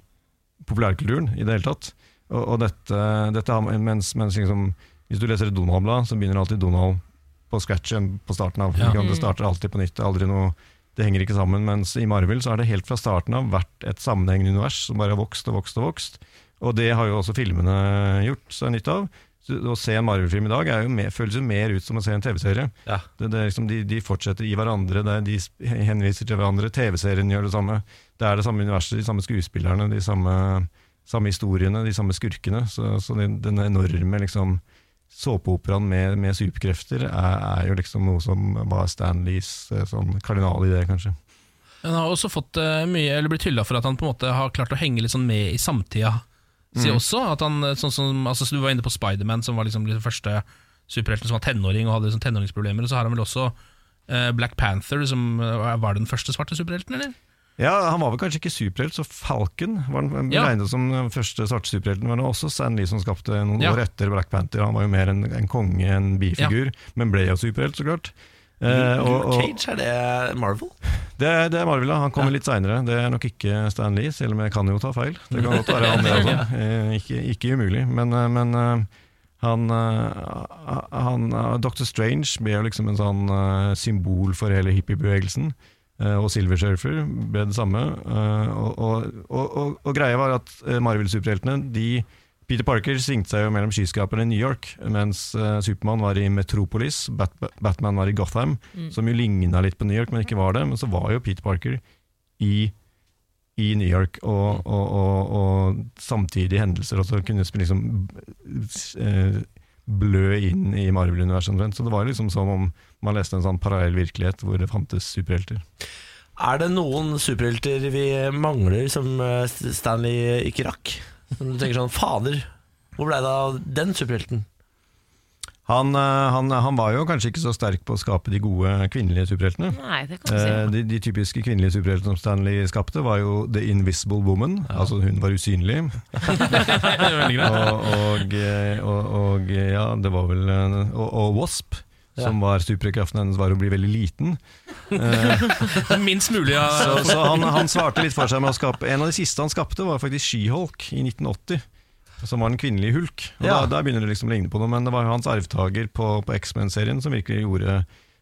populærkulturen i det hele tatt. Og, og dette, dette har, mens, mens liksom, Hvis du leser et Donald-blad, så begynner alltid Donald på scratchen på starten av. Ikke sant? Det starter alltid på nytt. Det, er aldri noe, det henger ikke sammen. Mens i Marvel så har det helt fra starten av vært et sammenhengende univers som bare har vokst og vokst og vokst. Og det har jo også filmene gjort seg nytt av. Så Å se en Marvel-film i dag er jo mer, føles jo mer ut som å se en TV-serie. Ja. Det, det er liksom, de, de fortsetter i hverandre, det er, de sp- henviser til hverandre. TV-serien gjør det samme. Det er det samme universet, de samme skuespillerne, de samme, samme historiene, de samme skurkene. Så, så den, den enorme liksom, såpeoperaen med, med superkrefter er, er jo liksom noe som var Stanleys eh, sånn kardinalidé, kanskje. Han har også fått eh, mye, eller blitt hylla for at han på en måte har klart å henge litt sånn med i samtida si også. At han, eh, sånn som, altså, så du var inne på Spiderman, som var liksom den første superhelten som var tenåring og hadde liksom tenåringsproblemer. Og så har han vel også eh, Black Panther, som eh, var den første svarte superhelten, eller? Ja, Han var vel kanskje ikke superhelt, så Falcon var den Ja. regnet som den første svarte superhelten. Men det var også Stan Lee som skapte noen Ja. år etter Black Panther. Han var jo mer en, en konge, en bifigur, men ble jo superhelt, så klart. Eh, og- Luke og- Cage, er det Marvel? Det er, det er Marvel, ja. Han kommer litt seinere. Det er nok ikke Stan Lee, selv om jeg kan jo ta feil. Det kan godt være han det også. Eh, Ikke, ikke umulig. Men, eh, men eh, han, eh, han eh, Dr. Strange ble jo liksom en sånn eh, symbol for hele hippiebevegelsen. Eh, Og Silver Surfer ble det samme. Eh, Og, og, og, og, og greia var at eh, Marvel-superheltene de Peter Parker svingte seg jo mellom skyskraperne i New York, mens eh, Supermann var i Metropolis, Bat Batman var i Gotham, som jo ligna litt på New York, men ikke var det. Men så var jo Peter Parker i, i New York, og, og, og, og samtidige hendelser også kunne sp- liksom eh, blø inn i Marvel-universet omtrent. Så det var liksom som om man leste en sånn parallell virkelighet hvor det fantes superhelter. Er det noen superhelter vi mangler som eh, St- Stanley ikke rakk? Som du tenker sånn, fader, hvor ble det av den superhelten? Han, eh, han, han var jo kanskje ikke så sterk på å skape de gode kvinnelige superheltene. Nei, det kan du si. Eh, De, de typiske kvinnelige superheltene som Stanley skapte, var jo The Invisible Woman. Altså hun var usynlig. og, og, eh, og, og eh, ja, det var vel eh, Og, og Wasp, som var superkraften hennes, var å bli veldig liten. Minst mulig av Så, så han, han svarte litt for seg med å skape En av de siste han skapte, var faktisk She-Hulk i 1980. Som var den kvinnelige hulk. Og Ja. da, der begynner det liksom å ligne på noe, men det var jo hans arvtaker på, på X-Men-serien som virkelig gjorde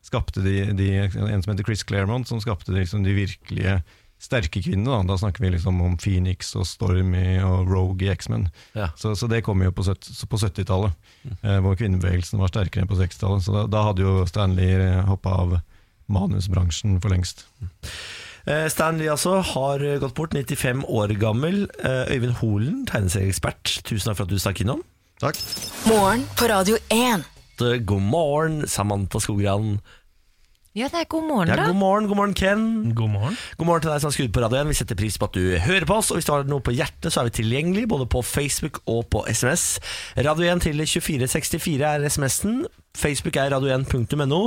skapte de, de, En som heter Chris Claremont, som skapte de, liksom, de virkelige sterke kvinnene. Da. da snakker vi liksom om Phoenix og Stormy og Rogue i X-Men. Ja. Så, så det kom jo på, søt- så på 70-tallet, eh, hvor kvinnebevegelsen var sterkere enn på 60-tallet. Så da, da hadde jo Stanley hoppa av manusbransjen for lengst. Eh, Stan Lee altså har eh, gått bort, 95 år gammel. Eh, Øyvind Holen, tegneserieekspert, tusen takk for at du stakk innom. Takk. Morgen på Radio 1. Eh, God morgen, Samantha Skogran. Ja, det er god morgen, Ja, da. god morgen, god morgen, Ken. God morgen. God morgen til deg som har skrudd på radioen. Vi setter pris på at du hører på oss. Og hvis du har noe på hjertet, så er vi tilgjengelige både på Facebook og på SMS. Radio 1 til 2464 er SMS-en. Facebook er radio1.no.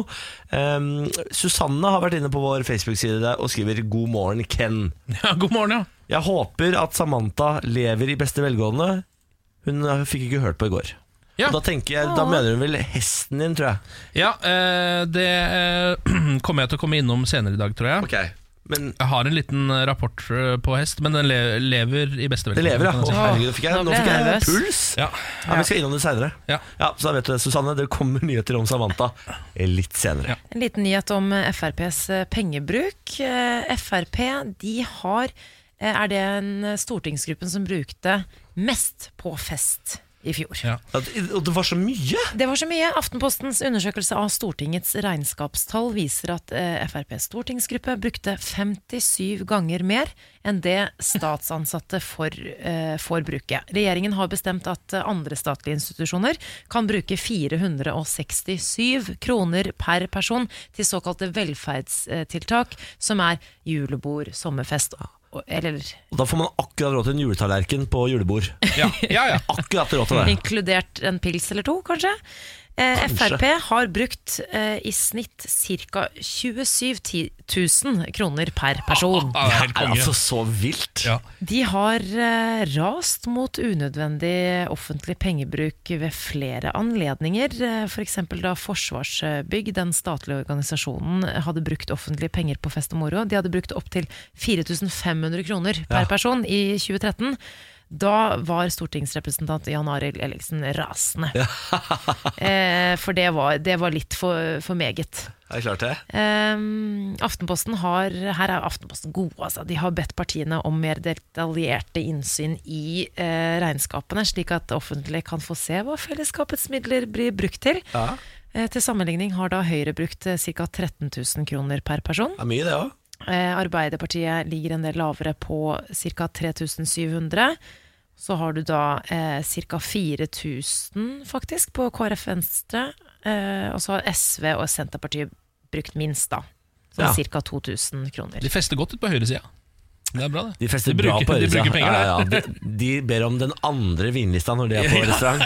Um, Susanne har vært inne på vår Facebook-side der og skriver 'God morgen, Ken'. Ja, god morgen, ja. Jeg håper at Samantha lever i beste velgående. Hun fikk ikke hørt på i går. Ja. Og Da tenker jeg, da mener hun vel hesten din, tror jeg. Ja, eh, det eh, kommer jeg til å komme innom senere i dag, tror jeg. Men Jeg har en liten rapport eh, på hest, men den le lever i beste det lever, ja. Å, velgående. herregud, nå fikk jeg, Nå nå ble jeg fikk jeg nervøs. puls. Ja. Ja, Vi skal innom det seinere. Ja. Ja, så da vet du det, Susanne. Det kommer nyheter om Samantha litt senere. Ja. En liten nyhet om eh, FrPs eh, pengebruk. Eh, Frp de har, eh, er den stortingsgruppen som brukte mest på fest i fjor. Ja. At, og det var så mye! Det var så mye. Aftenpostens undersøkelse av Stortingets regnskapstall viser at eh, FrPs stortingsgruppe brukte 57 ganger mer enn det statsansatte får, eh, får bruke. Regjeringen har bestemt at eh, andre statlige institusjoner kan bruke 467 kroner per person til såkalte velferdstiltak, eh, som er julebord, sommerfest og- eller Og da får man akkurat råd til en juletallerken på julebord. Ja. ja, ja. Akkurat råd til det. Inkludert en pils eller to, kanskje. Eh, Kanskje. Frp har brukt eh, i snitt ca. 27 ti- 000 kroner per person. Ja, det er helt Det er konge. altså så vilt. Ja. De har eh, rast mot unødvendig offentlig pengebruk ved flere anledninger. Eh, for eksempel da Forsvarsbygg, den statlige organisasjonen, hadde brukt offentlige penger på fest og moro. De hadde brukt opptil 4500 kroner per person i 2013. Da var stortingsrepresentant Jan Arild Ellingsen rasende. eh, for det var, det var litt for, for meget. Er det klart det? Ehm, Aftenposten har Her er Aftenposten gode, altså. De har bedt partiene om mer detaljerte innsyn i eh, regnskapene, slik at det offentlige kan få se hva fellesskapets midler blir brukt til. Eh, til sammenligning har da Høyre brukt eh, ca. 13 000 kroner per person. Det er mye, det òg. Eh, Arbeiderpartiet ligger en del lavere på ca. 3700. Så har du da eh, ca. 4000 faktisk på KrF Venstre. Eh, og så har SV og Senterpartiet brukt minst, da. Sånn Ja. ca. 2000 kroner. De fester godt ut på høyresida. Det er bra, det. De fester bruker, bra på de øresida. bruker penger der. ja, ja, ja. de, de ber om den andre vinlista når de er på restaurant.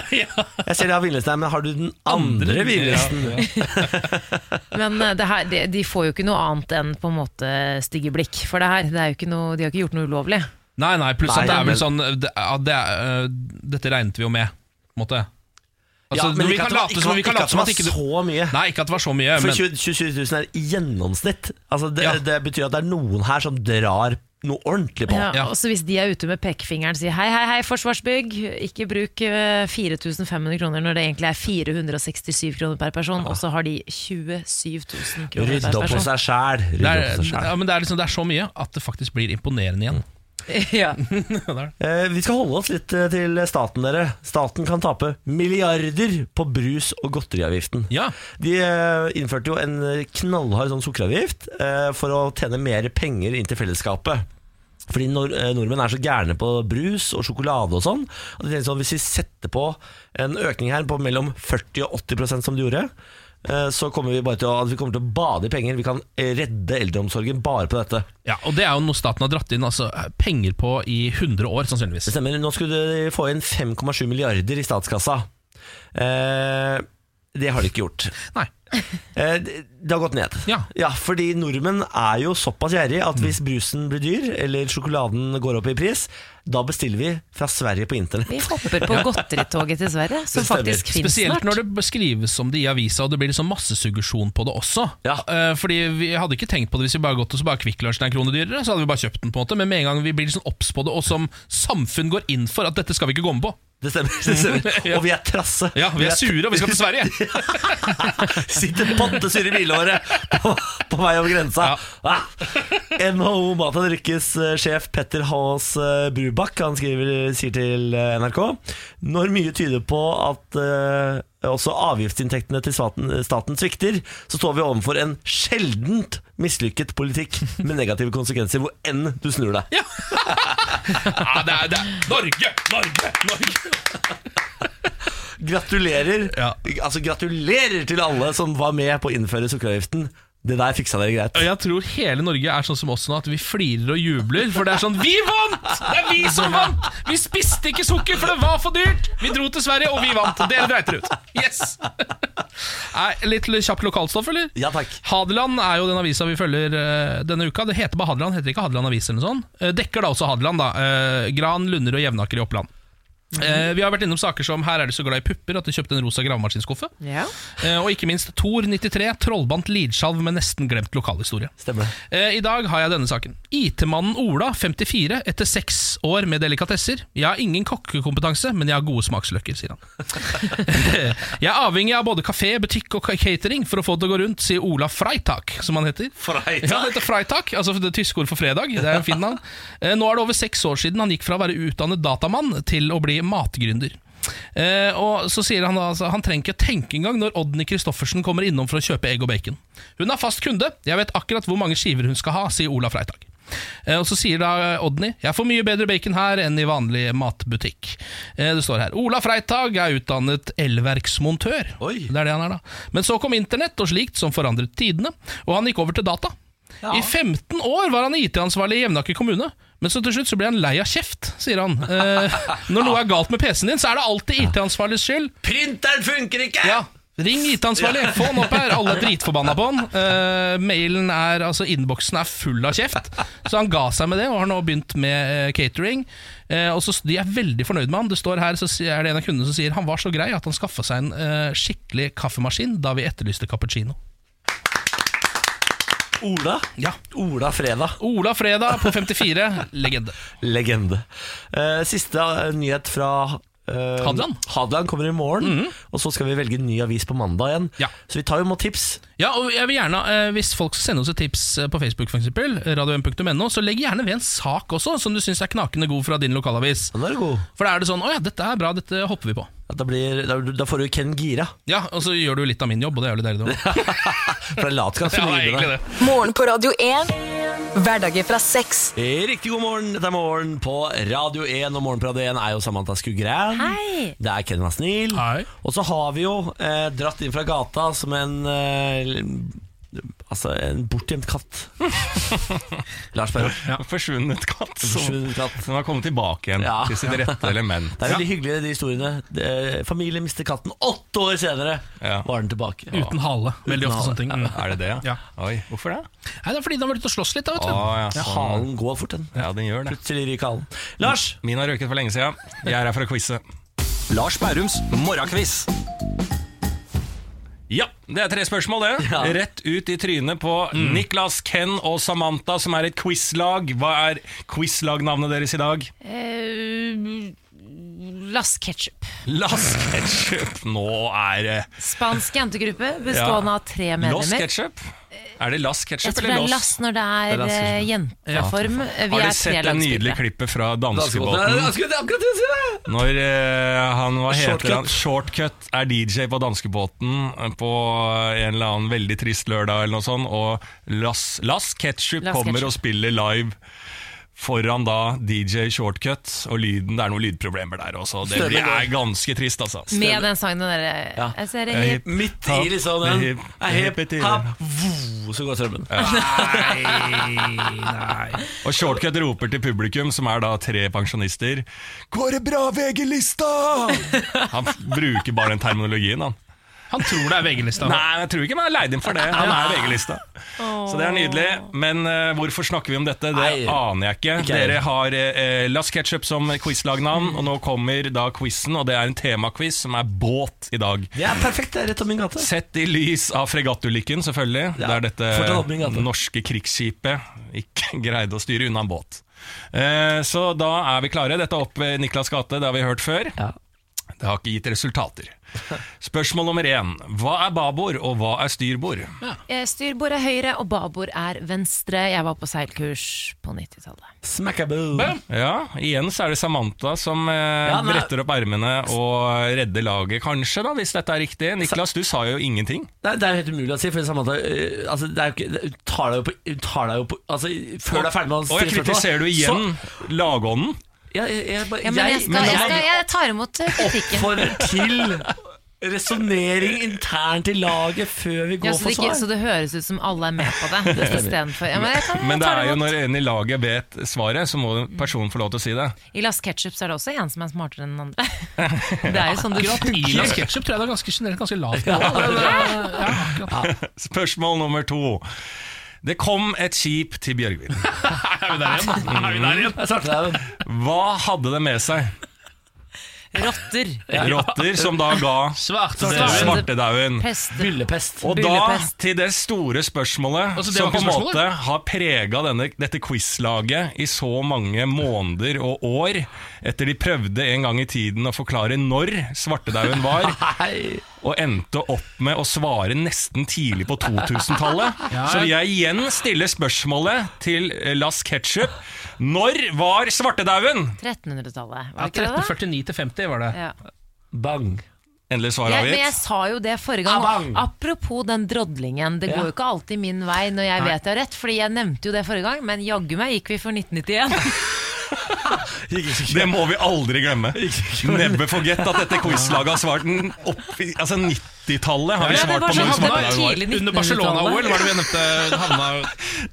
Jeg ser de har vinlista, her, men har du den andre vinlisten? Ja, ja. Men eh, det her, de, de får jo ikke noe annet enn på en måte stygge blikk for det her. Det er jo ikke noe, de har ikke gjort noe ulovlig. Nei, nei, pluss at Nei, det er vel men- sånn det, ja, det er, øh, Dette regnet vi jo med, på en måte. Altså, Ja, men vi ikke at kan det var- late som vi kan ikke late at som at det ikke var så mye. Nei, ikke at det var så mye, For men 20 27 000 er i gjennomsnitt. Altså det, Ja. det betyr at det er noen her som drar noe ordentlig på. Ja, Ja. Og så hvis de er ute med pekefingeren og sier hei, hei, hei, Forsvarsbygg, ikke bruk eh, 4500 kroner når det egentlig er 467 kroner per person, og så har de 27 000 kroner Rydde per opp hos person. deg sjæl. det er, ja, men det, er liksom, det er så mye at det faktisk blir imponerende igjen. ja. Eh, vi skal holde oss litt eh, til staten, dere. Staten kan tape milliarder på brus- og godteriavgiften. Ja. De eh, innførte jo en knallhard sånn sukkeravgift eh, for å tjene mer penger inn til fellesskapet. Fordi nor eh, nordmenn er så gærne på brus og sjokolade og sånn. Og de tenkte sånn, Hvis vi setter på en økning her på mellom 40 og 80 som de gjorde, eh, så kommer vi bare til å, at vi kommer til å bade i penger. Vi kan eh, redde eldreomsorgen bare på dette. Ja, og det er jo noe staten har dratt inn altså, penger på i 100 år, sannsynligvis. Det stemmer. Nå skulle de få inn 5,7 milliarder i statskassa. Eh, det har de ikke gjort. Nei. Eh, det det har gått ned. Ja. fordi nordmenn er jo såpass gjerrige at hvis brusen blir dyr, eller sjokoladen går opp i pris, da bestiller vi fra Sverige på internett. Vi hopper på godteritoget til Sverige, som Det stemmer. faktisk finnes Spesielt snart. når det skrives om det i avisa, og det blir liksom massesuggesjon på det også. Ja. Eh, Fordi vi hadde ikke tenkt på det hvis vi bare gått og så bare Kvikk Lunsjen er en krone dyrere, så hadde vi bare kjøpt den, på en måte. Men med en gang vi blir liksom obs på det, og som samfunn går inn for at dette skal vi ikke komme på. Det stemmer. det stemmer Ja. Og vi er trasse. Ja, vi er sure, og vi skal til Sverige! Sitter pottesure i bilåret på, på vei over grensa. Ah. NHO Mat og Drikkes eh, sjef Petter Haas eh, Brubakk Han skriver, sier til eh, NRK Når mye tyder på at eh, også avgiftsinntektene til staten, staten svikter, så står vi overfor en sjeldent mislykket politikk med negative konsekvenser hvor enn du snur deg. Ja, det er, det er Norge! Norge! Norge! Gratulerer Ja. Altså gratulerer til alle som var med på å innføre sukkeravgiften. Det der fiksa dere greit. Jeg tror hele Norge er sånn som oss nå, at vi flirer og jubler. For det er sånn Vi vant! Det er vi som vant! Vi spiste ikke sukker, for det var for dyrt! Vi dro til Sverige, og vi vant. Dere dreit dere ut. Yes! Nei, litt kjapt lokalstoff, eller? Ja takk. Hadeland er jo den avisa vi følger eh, denne uka. Det heter bare Hadeland, heter ikke Hadeland Avis eller noe sånt. Eh, dekker da også Hadeland, da. Eh, Gran, Lunder og Jevnaker i Oppland. Eh, vi har vært innom saker som 'Her er du så glad i pupper' at du kjøpte en rosa gravemaskinskuffe. Ja. Eh, og ikke minst Thor 93, trollbandt Lidskjalv med nesten glemt lokalhistorie. Stemmer det. Eh, I dag har jeg denne saken. IT-mannen Ola, 54, etter seks år med delikatesser. Jeg har ingen kokkekompetanse, men jeg har gode smaksløkker, sier han. jeg er avhengig av både kafé, butikk og catering for å få det til å gå rundt, sier Ola Freitag, som han heter. Freitag? Ja, han heter Freitag, altså det tyske ord for fredag. Det er en fin navn. Eh, Nå er det over seks år siden han gikk fra å være utdannet datamann til å bli matgründer. Eh, og så sier Han da, altså, han trenger ikke tenke engang når Odny Christoffersen kommer innom for å kjøpe egg og bacon. Hun er fast kunde, jeg vet akkurat hvor mange skiver hun skal ha, sier Ola Freitag. Eh, og Så sier da Odny jeg får mye bedre bacon her enn i vanlig matbutikk. Eh, det står her Ola Freitag er utdannet elverksmontør. Oi. Det er det han er da Men så kom internett og slikt som forandret tidene, og han gikk over til data. I 15 år var han IT-ansvarlig i Jevnaker kommune, men så til slutt så ble han lei av kjeft, sier han. Eh, når noe er galt med PC-en din, så er det alltid IT-ansvarligs skyld. Printeren funker ikke! Ja. Ring IT-ansvarlig, få han opp her. Alle er dritforbanna på han. Eh, mailen er, altså Innboksen er full av kjeft, så han ga seg med det og har nå begynt med eh, catering. Eh, og så s- De er veldig fornøyd med han. Det står her, så si- er det en av kundene som sier han var så grei at han skaffa seg en eh, skikkelig kaffemaskin da vi etterlyste cappuccino. Ola. Ja. Ola Fredag. Ola Fredag på 54, legende. Legende. Eh, siste eh, nyhet fra eh, Hadeland. Hadeland kommer i morgen, og så skal vi velge en ny avis på mandag igjen. Mhm. Ja. Så vi tar jo imot tips. Ja, og jeg vil gjerne, eh, Hvis folk sender oss et tips eh, på Facebook, for eksempel, radio1.no, så legg gjerne ved en sak også som du syns er knakende god fra din lokalavis. Den er god. For da er det sånn 'Å ja, dette er bra, dette hopper vi på'. Ja, Da, blir, da, da får du Ken Gira Ja, Og så gjør du litt av min jobb, og det er jævlig deilig. det også. fra latskap. så Ja, det er ligger det der. egentlig det. Morgen på Radio 1. Hverdager fra seks. Eh, Riktig god morgen. Dette er Morgen på Radio 1, og Morgen på Radio 1 er jo Samantha Skugran. Hei. Det er Kenna Snill. Hei. Og så har vi jo eh, dratt inn fra gata som en eh, Altså en bortgjemt katt. Lars Berrum. Ja, forsvunnet katt. Forsvunnet katt. Som har kommet tilbake igjen Ja. til sitt rette element. Det er veldig hyggelig, de historiene. Det, familien mister katten. Åtte år senere Ja. var den tilbake. Uten hale. Veldig ofte sånne ting. Mm. Er det det, ja? Ja. Oi, hvorfor det? Nei, det er fordi de har vært ute og slåss litt, da, vet Å, du. ja, Ah, Ja, sånn. halen går fort, den. ja, den gjør det. Plutselig ryker halen. Lars! Min har røket for lenge siden. Jeg er her for å quize. Lars Bærums morgenkviss. Ja, det er tre spørsmål, det. Ja. Rett ut i trynet på Mm. Niklas, Ken og Samantha, som er et quizlag. Hva er quizlagnavnet deres i dag? Lass Eh, Ketchup. Las Ketchup. Nå er eh, det Spansk jentegruppe bestående Ja. av tre Los medlemmer. Ketchup? Er det Las Jeg Ketchup tror det er eller Los? Lass når det er, Det er Lass eh, Ketchup. jenteform. Vi Har er du sett det nydelige trelandsklippet. klippet fra Danskebåten. Ja, danskebåten? jeg skulle akkurat til å si det! Når eh, han, hva heter Shortcut. han? Shortcut er DJ på danskebåten eh, på en eller annen veldig trist lørdag eller noe sånt, og Lass, Lass Ketchup Lass kommer Ketchup. og spiller live foran da DJ Shortcut, og lyden, det er noen lydproblemer der også. Det Stemmer blir, det. er ganske trist, altså. Med den sangen den derre Ja. Jeg ser det Eh, hip. Midt i liksom den Hip, Er hip, hip, hip. hap, voo, Så går strømmen Og Shortcut roper til publikum, som er da tre pensjonister, Går det bra, VG-lista? Han f- bruker bare den terminologien, han. Han tror det er VG-lista. Nei, jeg tror ikke man er leid inn for det. Han er VG-lista. Så det er nydelig. Men eh, hvorfor snakker vi om dette? Det Nei. aner jeg ikke. Ikke jeg. Dere har uh, Lass Ketchup som quizlagnavn, og nå kommer da quizen, og det er en temaquiz som er båt i dag. Det er perfekt, det er rett om min gate Sett i lys av fregattulykken, selvfølgelig, Ja, der fortsatt altså. oppe i dette gata. norske krigsskipet ikke greide å styre unna en båt. Eh, så da er vi klare. Dette er opp ved Niklas gate, det har vi hørt før. Ja. Det har ikke gitt resultater. Spørsmål nummer én. Hva er babord, og hva er styrbord? Eh, Styrbord er høyre, og babord er venstre. Jeg var på seilkurs på 90-tallet. Smackaboo Ja, igjen så er det Samantha som eh, nei. bretter opp ermene og redder laget, kanskje, da, hvis dette er riktig. Niklas, du sa jo ingenting. det er, det er jo helt umulig å si For Samantha eh, altså, det er jo ikke, det, Hun tar deg jo på, hun tar deg jo på altså, Før du er ferdig med å sånn. Og jeg stille spørsmål, kritiserer du igjen lagånden. så, ja, jeg, jeg, bare- Ja, men jeg, jeg- skal, jeg, skal, jeg tar imot eh, kritikken. for til resonnering internt i laget før vi Ja, går så, det for ikke, så svar. det høres ut som alle er med på det. Istedenfor ja, men, jeg kan Men det ta er jo imot. når en i laget vet svaret, så må personen få lov til å si det. I Las Ketchup så er det også en som er smartere enn den andre. Det er jo sånn du Akkurat Ilas ketchup tror jeg det er ganske generelt ganske lavt nivå. Ja, akkurat. Spørsmål nummer to. Det kom et skip til Bjørgvin. Er vi der igjen? da? Er vi der igjen? Hva hadde det med seg? Rotter. Rotter som da ga Svartedauden. svartedauen. Pest. Byllepest. Og da Byllepest. til det store spørsmålet Altså, det som var på en ikke måte har prega denne, dette quizlaget i så mange måneder og år, etter de prøvde en gang i tiden å forklare når svartedauden var, Nei. og endte opp med å svare nesten tidlig på 2000-tallet. Så vil jeg igjen stille spørsmålet til eh, Las Ketchup. Når var svartedauen? 1300-tallet, var det Ja, ikke det? da? 1349 til 50 var det. Ja. Bang. Endelig svar Jeg, men jeg avgitt. sa jo det forrige gang. Abang. Apropos den drodlingen. Det går jo ikke alltid min vei når jeg vet jeg har rett, Fordi jeg nevnte jo det forrige gang, men jaggu meg gikk vi for 1991. Det må vi aldri glemme. Never forget at dette quizlaget har svart den opp i altså 90-tallet. har vi Ja, det var svart på så når havna svartedauden var. tidlig Under Barcelona-OL 1900-tallet. var det vi nevnte havna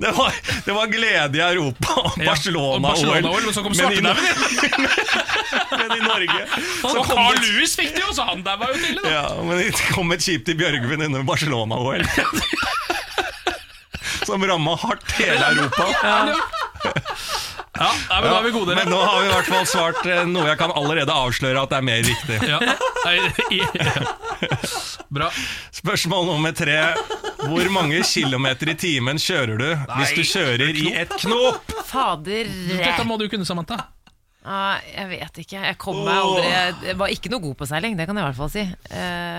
Det var, det var glede i Europa og Ja, og Barcelona-OL. Barcelona-OL, men så kom i- svartedauden men i Norge så Og kom Carl det, Lewis fikk det jo, så han der var jo tidlig, da. ja, men det kom et skip til Bjørgvin under Barcelona-OL. Som ramma hardt hele Europa. Ja, nei, men da er vi gode, men dere. nå har vi i hvert fall svart eh, noe jeg kan allerede avsløre at er mer riktig. Ja. Nei, i- ja. Bra. Spørsmål nummer tre. Hvor mange kilometer i timen kjører du hvis du kjører i et knop? Fader. Dette må du kunne, Samantha. Ah, jeg vet ikke. Jeg kom meg aldri Jeg var ikke noe god på seiling, det kan jeg i hvert fall si. Eh,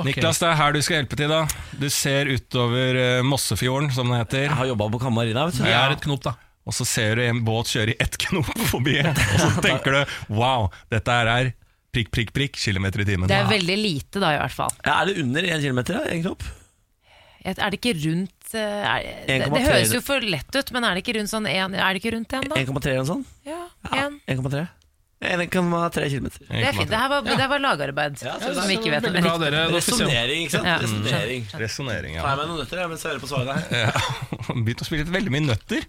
Ok. Niklas, det er her du skal hjelpe til. da Du ser utover eh, Mossefjorden, som det heter. Jeg har jobba på Kamarina, vet du. Det er et knop, da. Og så ser du en båt kjøre i ett knop forbi, og så tenker du wow, dette her er prikk, prikk, prikk, kilometer i timen. det er veldig lite, da, i hvert fall. Ja, Er det under 1 km, da? En knopp? Er det ikke rundt eh, er, det, det 1,3. høres jo for lett ut, men er det ikke rundt sånn en, Er det ikke rundt en, da? 1,3 eller noe sånt? Ja, Ja, en. 1,3. 1,3 km. Det er fint. Det her var, det her var lagarbeid som vi ikke vet om er Veldig bra, riktig. dere. Da skal vi se om- Resonnering, ikke sant? Ja. Resonnering. Resonnering, Tar ja. jeg meg noen nøtter jeg, mens jeg hører på svarene her? Begynt å spille veldig mye nøtter.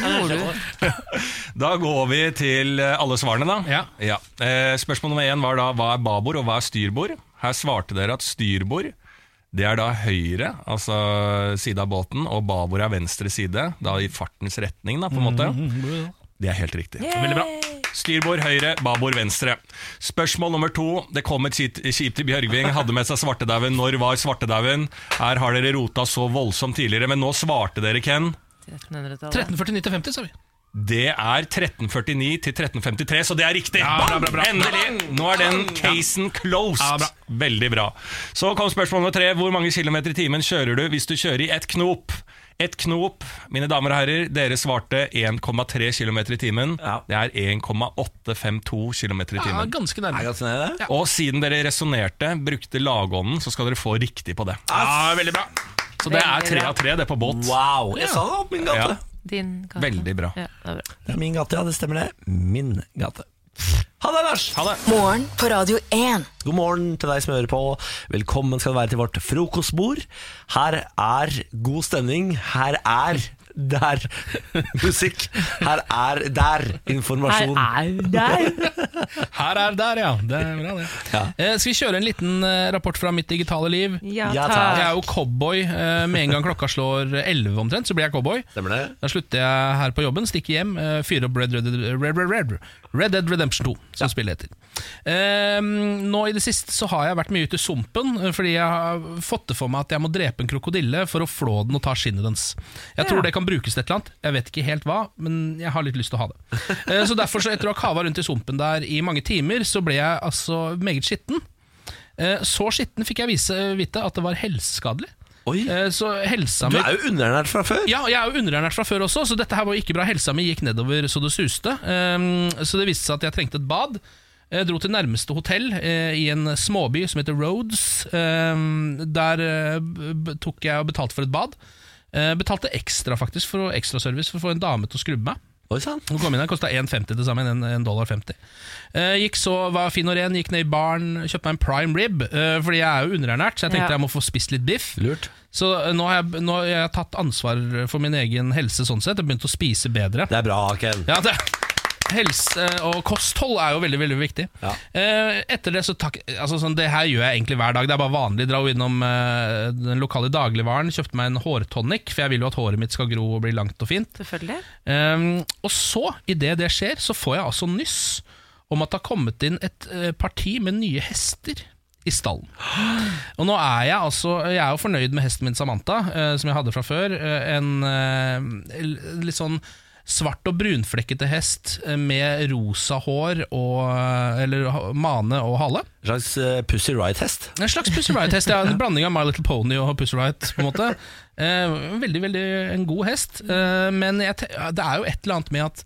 Gjorde du? Da går vi til eh, alle svarene, da. Ja. Eh, Spørsmål nummer én var da hva er babord og hva er styrbord? Her svarte dere at styrbord det er da høyre, altså side av båten, og babord er venstre side, da i fartens retning, da, på en måte. Mhm, Det er helt riktig. Veldig bra. Styrbord høyre, babord venstre. Spørsmål nummer to. Det kom et skip skip til Bjørgving, hadde med seg svartedauden. Når var svartedauden? Her har dere rota så voldsomt tidligere, men nå svarte dere, Ken. 1300-tallet. 1349 til 50, sa vi. Det er 1349 til 1353, så det er riktig. Ja, bra, bra, bra. Endelig! Nå er den casen closed. Ja, bra. Veldig bra. Så kom spørsmål nummer tre. Hvor mange kilometer i timen kjører du hvis du kjører i ett knop? Ett knop, mine damer og herrer, dere svarte 1,3 km i timen. Ja. Det er 1,852 km i Ja, timen. ganske Er jeg nærme. ganske nær i det? Og siden dere resonnerte, brukte lagånden, så skal dere få riktig på det. Ja, veldig bra. Så det er Veldig tre bra. av tre, det på båt. Wow! Jeg sa det opp min gate. Ja. Din gate. Veldig bra. Ja, det er bra. Det er min gate, ja. Det stemmer det. Min gate. Ha det, Lars! Morgen på Radio 1. God morgen til deg som hører på. Velkommen skal du være til vårt frokostbord. Her er god stemning. Her er der musikk. Her er der informasjon. Her er der, ja. Det er bra, det. Eh, skal vi kjøre en liten eh, rapport fra mitt digitale liv? Ja, Ja, Jeg takk. er jo cowboy. eh, Med en gang klokka slår 11 omtrent, så blir jeg cowboy. Stemmer det? Da slutter jeg her på jobben, stikker hjem, eh, fyrer opp Red, Red, Red, Red, Red, Red Dead Redemption 2, som spillet heter. Ehm, nå i det siste så har jeg vært mye ute i sumpen, eh, fordi jeg har fått det for meg at jeg må drepe en krokodille for å flå den og ta skinnet dens. Jeg tror det kan brukes til et eller annet, jeg vet ikke helt hva, men jeg har litt lyst til å ha det. Eh, så derfor, så etter å ha kava rundt i sumpen der i mange timer, så ble jeg altså meget skitten. Eh, så skitten fikk jeg vise, vite at det var helseskadelig. Oi, Eh, så helsa du mi er jo underernært fra før. ja, jeg er jo underernært fra før også, så dette her var jo ikke bra. Helsa mi gikk nedover så det suste. Ehm, så det viste seg at jeg trengte et bad. Jeg dro til nærmeste hotell eh, i en småby som heter Rhodes. Ehm, der eh, b- b- tok jeg og betalte for et bad. Eh, betalte ekstra faktisk for å- ekstraservice for å få en dame til å skrubbe meg. Oi sann. Hun kom inn her, kosta 1,50 til sammen. en- en dollar 50. Eh, gikk så, var fin og ren, gikk ned i baren, kjøpte meg en prime rib. eh, fordi jeg er jo underernært, så jeg tenkte Ja. jeg må få spist litt biff. Så eh, nå har, jeg, nå har jeg tatt ansvar for min egen helse sånn sett, og begynt å spise bedre. Det er bra, Ken. Ja, det Helse eh, og kosthold er jo veldig veldig viktig. Eh, etter det så takk, altså sånn, Det her gjør jeg egentlig hver dag. Det er bare vanlig. Dra jo innom eh, den lokale dagligvaren, kjøpte meg en hårtonic, for jeg vil jo at håret mitt skal gro og bli langt og fint. Selvfølgelig. Ehm, og så, idet det skjer, så får jeg altså nyss om at det har kommet inn et eh, parti med nye hester i stallen. Og nå er jeg altså Jeg er jo fornøyd med hesten min Samantha, eh, som jeg hadde fra før. eh, en eh, l- litt sånn svart og brunflekkete hest eh, med rosa hår og eh, Eller ha- mane og hale. En slags eh, Pussy Riot-hest. En slags Pussy Riot-hest. ja. En blanding av My Little Pony og Pussy Riot. På en måte. Eh, veldig veldig en god hest, eh, men jeg, te- det er jo et eller annet med at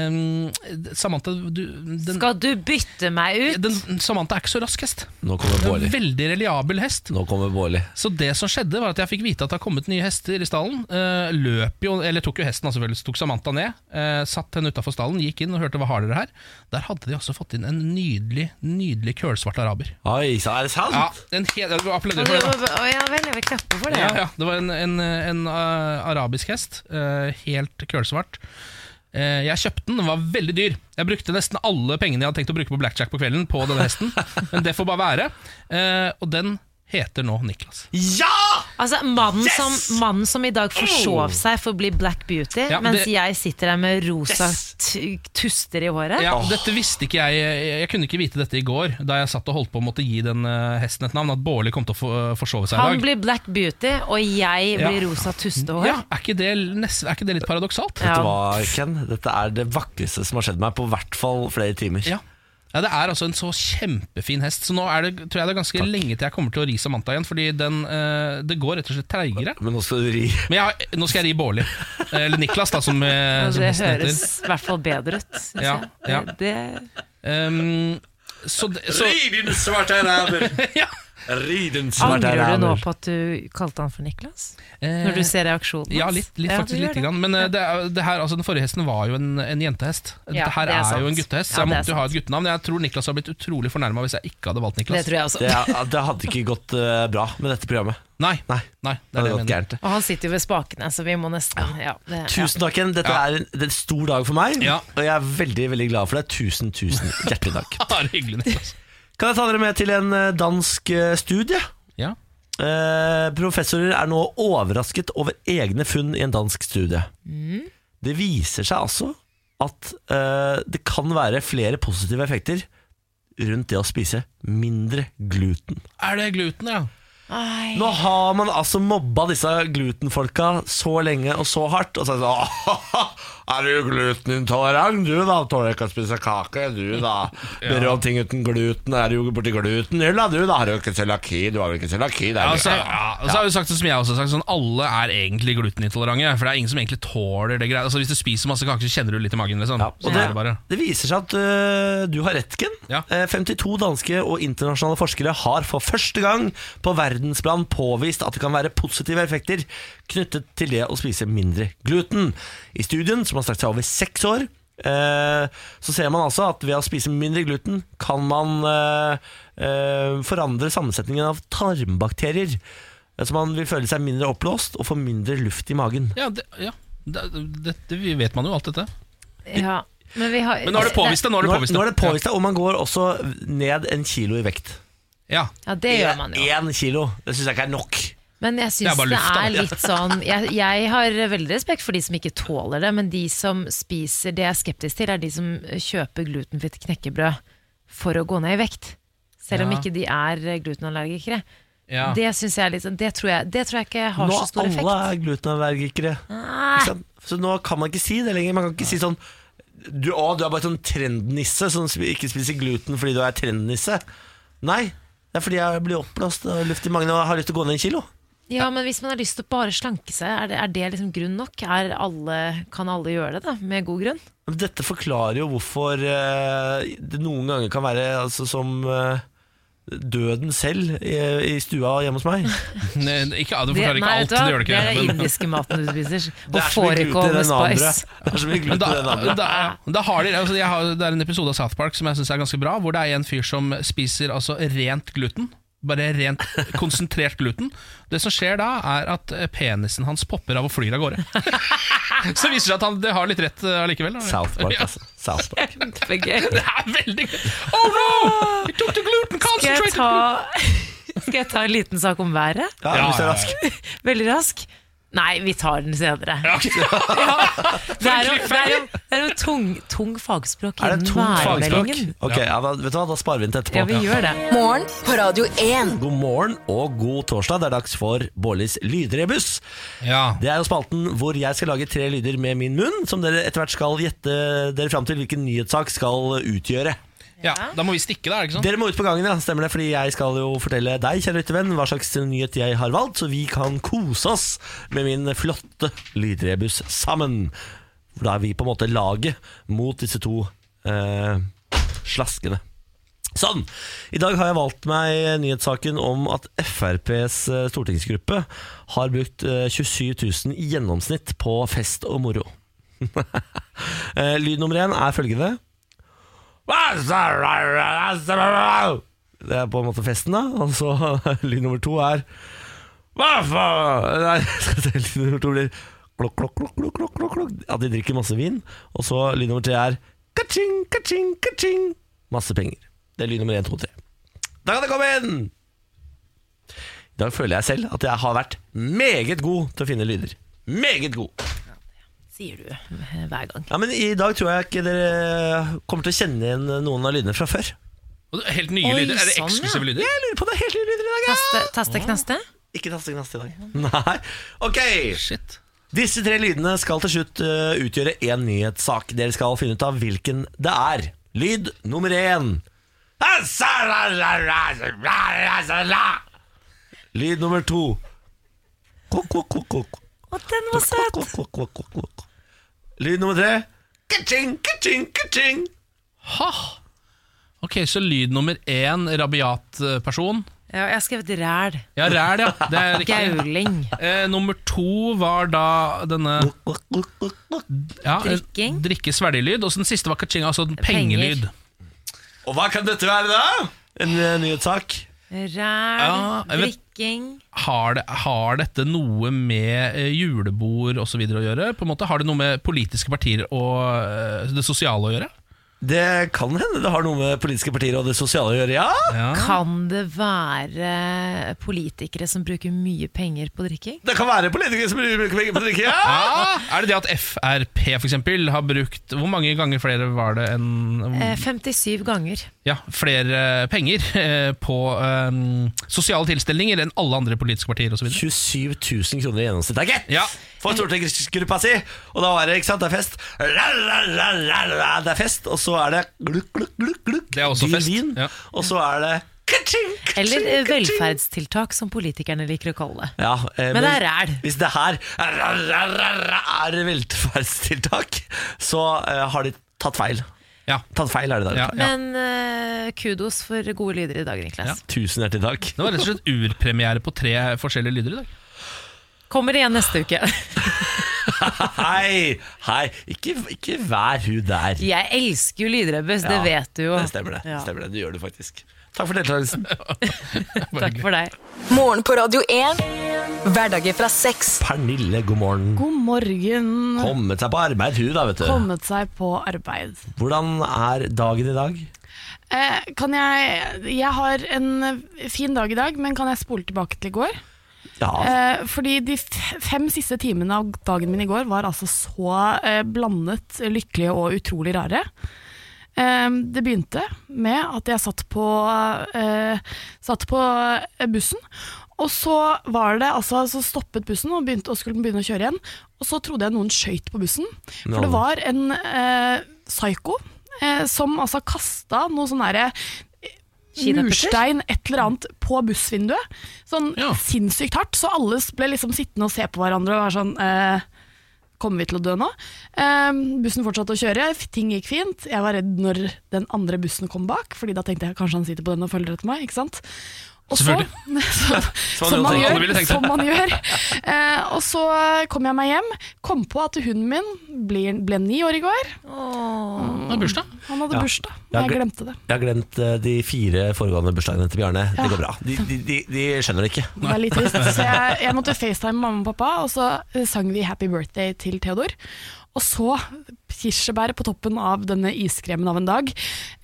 eh, Samantha du, den, Skal du bytte meg ut? Den, Samantha er ikke så rask hest. Nå kommer Det er Bårli. en veldig reliabel hest. Nå kommer Bårli. Så det som skjedde var at jeg fikk vite at det har kommet nye hester i stallen. Eh, løp jo, eller tok jo hesten, da selvfølgelig, så tok Samantha ned. eh, satt henne utafor stallen, gikk inn og hørte hva har dere her. Der hadde de også fått inn en nydelig, nydelig kølsvart araber. Oi, så er det sant? Ja, en hel, jeg applauderer for det. da. Å, ja vel, jeg vil klappe for det. Ja, ja, det var en, en, en uh, arabisk hest, uh, helt kølsvart. Eh, jeg kjøpte den, den var veldig dyr. Jeg brukte nesten alle pengene jeg hadde tenkt å bruke på blackjack på kvelden, på denne hesten. Men det får bare være. Eh, og den heter nå Niklas. Ja! Altså, mannen, som, mannen som i dag Oh! forsov seg for å bli Black Beauty, Ja, mens det- jeg sitter der med rosa t- tuster i håret. Ja, dette visste ikke jeg Jeg kunne ikke vite dette i går, da jeg satt og holdt på å måtte gi den eh, hesten et navn. At Bårli kom til å få- forsove seg i Han dag. blir Black Beauty, og jeg blir Ja. rosa tustehår. Ja, er ikke det, nest, er ikke det litt paradoksalt? Vet du hva, Ken? Dette er det vakreste som har skjedd meg på hvert fall flere timer. Ja. Ja, Det er altså en så kjempefin hest, så nå er det, tror jeg det er ganske lenge til jeg kommer til å ri Samantha igjen. Fordi den, eh, det går rett og slett treigere. Men nå skal du ri Men jeg, har- nå skal jeg ri Bårli. Eller Niklas, da, som, eh, Og som det hesten heter. Altså, høres i hvert fall bedre ut. synes Ja, jeg. ja. Det, Um, så, det- så Ri din svarte ræver! ja. Ri din angrer du nå på at du kalte han for Niklas? Eh, Når du ser reaksjonen Ja, litt, litt Ja, du faktisk gjør lite det. grann. Men eh, det, er- det her, altså, den forrige hesten var jo en, en jentehest. Ja, Dette her det er er, sant. jo en guttehest, Ja, så jeg det er måtte jo ha et guttenavn. Jeg tror Niklas hadde blitt utrolig fornærma hvis jeg ikke hadde valgt Niklas. Det, det hadde ikke gått eh, bra med dette programmet. Nei, Nei. Nei det hadde gått gærent. Og han sitter jo ved spakene, så vi må nesten ja, det, Tusen takk, Ken. Dette er en det er en stor dag for meg, og jeg er veldig veldig glad for det. Tusen, tusen hjertelig takk. Bare hyggelig, Niklas. Kan jeg ta dere med til en eh, dansk eh, studie? Ja. Eh, professorer er nå overrasket over egne funn i en dansk studie. Det viser seg altså at eh, det kan være flere positive effekter rundt det å spise mindre gluten. Er det gluten, ja? Ai. Nå har man altså mobba disse glutenfolka så lenge og så hardt. Og så er det sånn «Åh, Er du glutenintolerant, du da? Tåler ikke å spise kake, du da? Ber om ting uten gluten, er du borti glutenhylla, du da? Har du ikke cøliaki? Du har vel ikke cøliaki? det er Ja, du- altså, ja, og så har vi sagt det som jeg også har sagt sånn, Alle er egentlig glutenintolerante For det er ingen som egentlig tåler det greia altså, Hvis du spiser masse kaker så kjenner du litt i magen liksom. Og Sånn det, er det bare det viser seg at øh, du har rett, Ken. Eh, 52 danske og internasjonale forskere har for første gang på verdensplan påvist at det kan være positive effekter knyttet til det å spise mindre gluten. I studien, som har strakt seg over seks år, eh, så ser man altså at ved å spise mindre gluten kan man eh, eh, forandre sammensetningen av tarmbakterier. eh, Så man vil føle seg mindre oppblåst og få mindre luft i magen. Ja, det, ja. Det, det, det vet man jo alt dette ja. Men, vi har, Nå Altså, er- nå er det påvist det, Og man går også ned en kilo i vekt. Ja, Ja, det gjør man jo. Én kilo. Det syns jeg ikke er nok. Men jeg Det er syns det bare er, luft, da. litt sånn jeg, jeg har veldig respekt for de som ikke tåler det, men de som spiser det jeg er skeptisk til, er de som kjøper glutenfritt knekkebrød for å gå ned i vekt. Selv om Ja. ikke de er glutenallergikere. Ja. Det synes jeg er litt sånn Det tror jeg, det tror jeg ikke har Nå så stor effekt. alle er glutenallergikere. Ikke sant? Så nå kan man ikke si det lenger. Man kan ikke si sånn du, å, du er bare sånn trendnisse som sp- ikke spiser gluten fordi du er trendnisse. Nei, det er fordi jeg blir oppblåst og har luft i magen og har lyst til å gå ned en kilo. Ja, men hvis man har lyst til å bare slanke seg, er det, er det liksom grunn nok? Er alle, kan alle gjøre det, da? Med god grunn? Men Dette forklarer jo hvorfor eh, det noen ganger kan være altså, som eh, døden selv i, i stua hjemme hos meg. ikke, du Det- nei, vet du hva? det er den indiske maten du spiser. Og fårikål med spice. Men da, da, da har de, altså jeg har, det er en episode av South Park som jeg syns er ganske bra, hvor det er en fyr som spiser altså rent gluten. Bare rent konsentrert gluten. Det som skjer da, er at eh, penisen hans popper av og flyr av gårde. Så viser det seg at han det har litt rett eh, allikevel. da. South Park, Ja. altså. South Park. Det er veldig gøy! Oh no! He took the gluten Skal jeg concentrate! ta, skal jeg ta en liten sak om været? Ja, Ja, hvis du er ja, rask. Veldig rask. Nei, vi tar den senere. Det er jo, det er jo, det er jo tung, tung fagspråk Er det innen tungt fagspråk? værmeldingen. Ok, ja, da, vet du hva, da sparer vi den til etterpå. Ja, vi gjør det. Morgen på Radio 1. God morgen og god torsdag. Det er dags for Bårlis lydrebus. Det er jo spalten hvor jeg skal lage tre lyder med min munn, som dere etter hvert skal gjette dere fram til hvilken nyhetssak skal utgjøre. Ja, Da må vi stikke, da. er det ikke sånn? Dere må ut på gangen, ja. Stemmer det? Fordi jeg skal jo fortelle deg, kjære lyttervenn, hva slags nyhet jeg har valgt, så vi kan kose oss med min flotte lydrebus sammen. For da er vi på en måte laget mot disse to eh, slaskene. Sånn! I dag har jeg valgt meg nyhetssaken om at FrPs eh, stortingsgruppe har brukt eh, 27 000 i gjennomsnitt på fest og moro. Eh, Lyd nummer én er følgende. Det er på en måte festen, da. Og så lyd nummer to er Hva faen? Nei, lyd nummer to blir klokk, klokk, klokk, klokk, klokk, klokk, klokk. At de drikker masse vin. Og så lyd nummer tre er ka-ching, ka-ching, ka-ching. Masse penger. Det er lyd nummer én, to, tre. Da kan det komme inn! I dag føler jeg selv at jeg har vært meget god til å finne lyder. Meget god. Sier du eh, hver gang. Ja, men I dag tror jeg ikke dere kommer til å kjenne igjen noen av lydene fra før. Og det er Helt nye Oi, lyder? Er det sånn, ja. eksklusive lyder? Jeg lurer på det er helt nye lyder i dag. ja. Taste, taste knaste? Ikke taste knaste i dag. Nei. Ok. Disse tre lydene skal til slutt eh, utgjøre én nyhetssak. Dere skal finne ut av hvilken det er. Lyd nummer én. Lyd nummer to. Kok, kok, kok, kok. Å, den var søt! Kok, kok, kok, kok, kok. Lyd nummer tre. Ka-ching, ka-ching, ka-ching. Ha. Ok, så lyd nummer én, rabiat eh, person. Ja, jeg har skrevet ræl. Ja, ræl, ja. Det er riktig. Gauling. Eh, nummer to var da denne ja, eh, Drikking. drikke svelgelyd. Og så den siste var kaching, altså en Penger. pengelyd. Og hva kan dette være da? En eh, nyhetssak. Ræl, Ja, jeg vet- drikking Har, det, har dette noe med eh, julebord osv. å gjøre? På en måte Har det noe med politiske partier og eh, det sosiale å gjøre? Det kan hende det har noe med politiske partier og det sosiale å gjøre, ja. Kan det være politikere som bruker mye penger på drikking? Det kan være politikere som bruker penger på drikke, ja. Ja, Er det det at Frp for eksempel, har brukt Hvor mange ganger flere var det enn Eh, 57 ganger. ja, flere penger eh, på eh, sosiale tilstelninger enn alle andre politiske partier osv.? 27 000 kroner i gjennomsnitt. Det er gitt! Ja. For stortingsgruppa si! Og da var det, ikke sant, det er fest. La, la, la, la, la, det er fest, og så er det glukk, glukk, glukk, glukk. Det er også dyr fest, Vin, ja. Og så er det ka-ching, ka-ching, Eller eh, ka-ching. velferdstiltak, som politikerne liker å kalle det. Ja, eh, Men det er ræl. Hvis det her ra, ra, ra, ra, er velferdstiltak, så eh, har de tatt feil. Ja. Tatt feil er det der. Ja, ja. Men eh, kudos for gode lyder i dag, Niklas. Tusen hjertelig takk. Det var rett og slett urpremiere på tre forskjellige lyder i dag. Kommer igjen neste uke. Hei, hei, ikke, ikke vær hun der. Jeg elsker jo lydrebus, det Ja, vet du jo. Det stemmer det. Ja. det stemmer det. Du gjør det faktisk. Takk for deltakelsen. Takk for deg. Morgen på Radio 1. Hverdager fra seks. Pernille, god morgen. God morgen. Kommet seg på arbeid, hun da, vet du. Kommet seg på arbeid. Hvordan er dagen i dag? Eh, kan jeg Jeg har en fin dag i dag, men kan jeg spole tilbake til i går? Ja, Eh, fordi de f- fem siste timene av dagen min i går var altså så eh, blandet lykkelige og utrolig rare. Eh, det begynte med at jeg satt på, eh, satt på eh, bussen, og så var det altså så stoppet bussen og, begynte, og skulle begynne å kjøre igjen. Og så trodde jeg noen skøyt på bussen, for Nå. det var en eh, psyko eh, som altså kasta noe sånn derre Kinaputter? murstein, et eller annet, på bussvinduet. Sånn Ja. sinnssykt hardt, så alle ble liksom sittende og se på hverandre og være sånn eh, kommer vi til å dø nå? Ehm, bussen fortsatte å kjøre, f- ting gikk fint. Jeg var redd når den andre bussen kom bak, Fordi da tenkte jeg kanskje han sitter på den og følger etter meg. ikke sant? Og så, så, Sånn som, man alle gjør, ville tenkt det. som man gjør. Eh, og så kom jeg meg hjem, kom på at hunden min ble, ble ni år i går. Han hadde bursdag. Han hadde Ja. bursdag, Jeg men har jeg gle- glemte det. Jeg har glemt eh, de fire foregående bursdagene til Bjarne. Ja. Det går bra. De, de, de, de skjønner det ikke. Det er litt trist. Så jeg, jeg måtte facetime mamma og pappa, og så eh, sang vi 'Happy Birthday' til Theodor. Og så kirsebær på toppen av denne iskremen av en dag.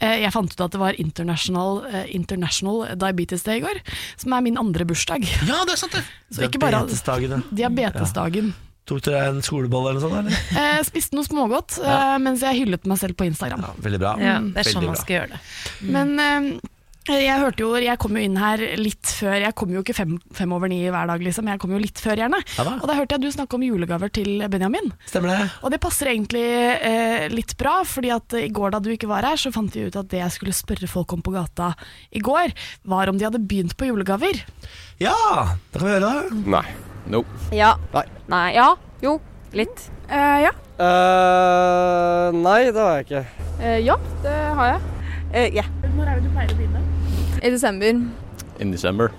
Eh, Jeg fant ut at det var International, eh, International Diabetes Day i går, som er min andre bursdag. Ja, det er sant det! Så ikke bare Diabetesdagene. Diabetesdagen. Ja. Tok du deg en skolebolle eller noe sånt? Eller? Eh, Spiste noe smågodt eh, mens jeg hyllet meg selv på Instagram. Veldig bra. Ja, det er sånn Veldig man bra. skal gjøre det. Men eh, jeg hørte jo, jeg kom jo inn her litt før, jeg kom jo ikke fem, fem over ni hver dag liksom, jeg kom jo litt før gjerne. Ja da. og da hørte jeg du snakke om julegaver til Benjamin. Stemmer det. Og det passer egentlig eh, litt bra, fordi at eh, i går da du ikke var her, så fant vi ut at det jeg skulle spørre folk om på gata i går, var om de hadde begynt på julegaver. Ja, da kan vi høre det. Nei. Nope. Ja. Nei. Ja. Jo. Litt. ja. Eh, nei, det har jeg ikke. Eh, ja, det har jeg. Eh, Når er det du pleier å begynne? I desember. In December.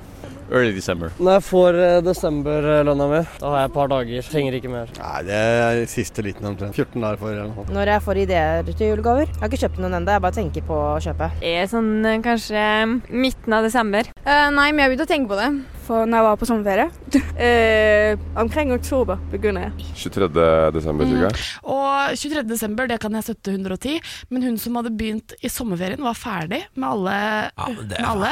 Early December. Når jeg får eh, desemberlønna mi, da har jeg et par dager. Trenger ikke mer. Nei, det er siste liten omtrent. 14 dager for eller noe sånt. Når jeg får ideer til julegaver. Jeg har ikke kjøpt noen ennå, jeg bare tenker på å kjøpe. sånn eh, kanskje midten av desember. Eh, nei, men jeg begynte å tenke på det. For når jeg var på sommerferie. Eh, omkring oktober begynner jeg. 23. desember, cirka. Og 23. desember, det kan jeg støtte 110, men hun som hadde begynt i sommerferien var ferdig med alle. det- med alle.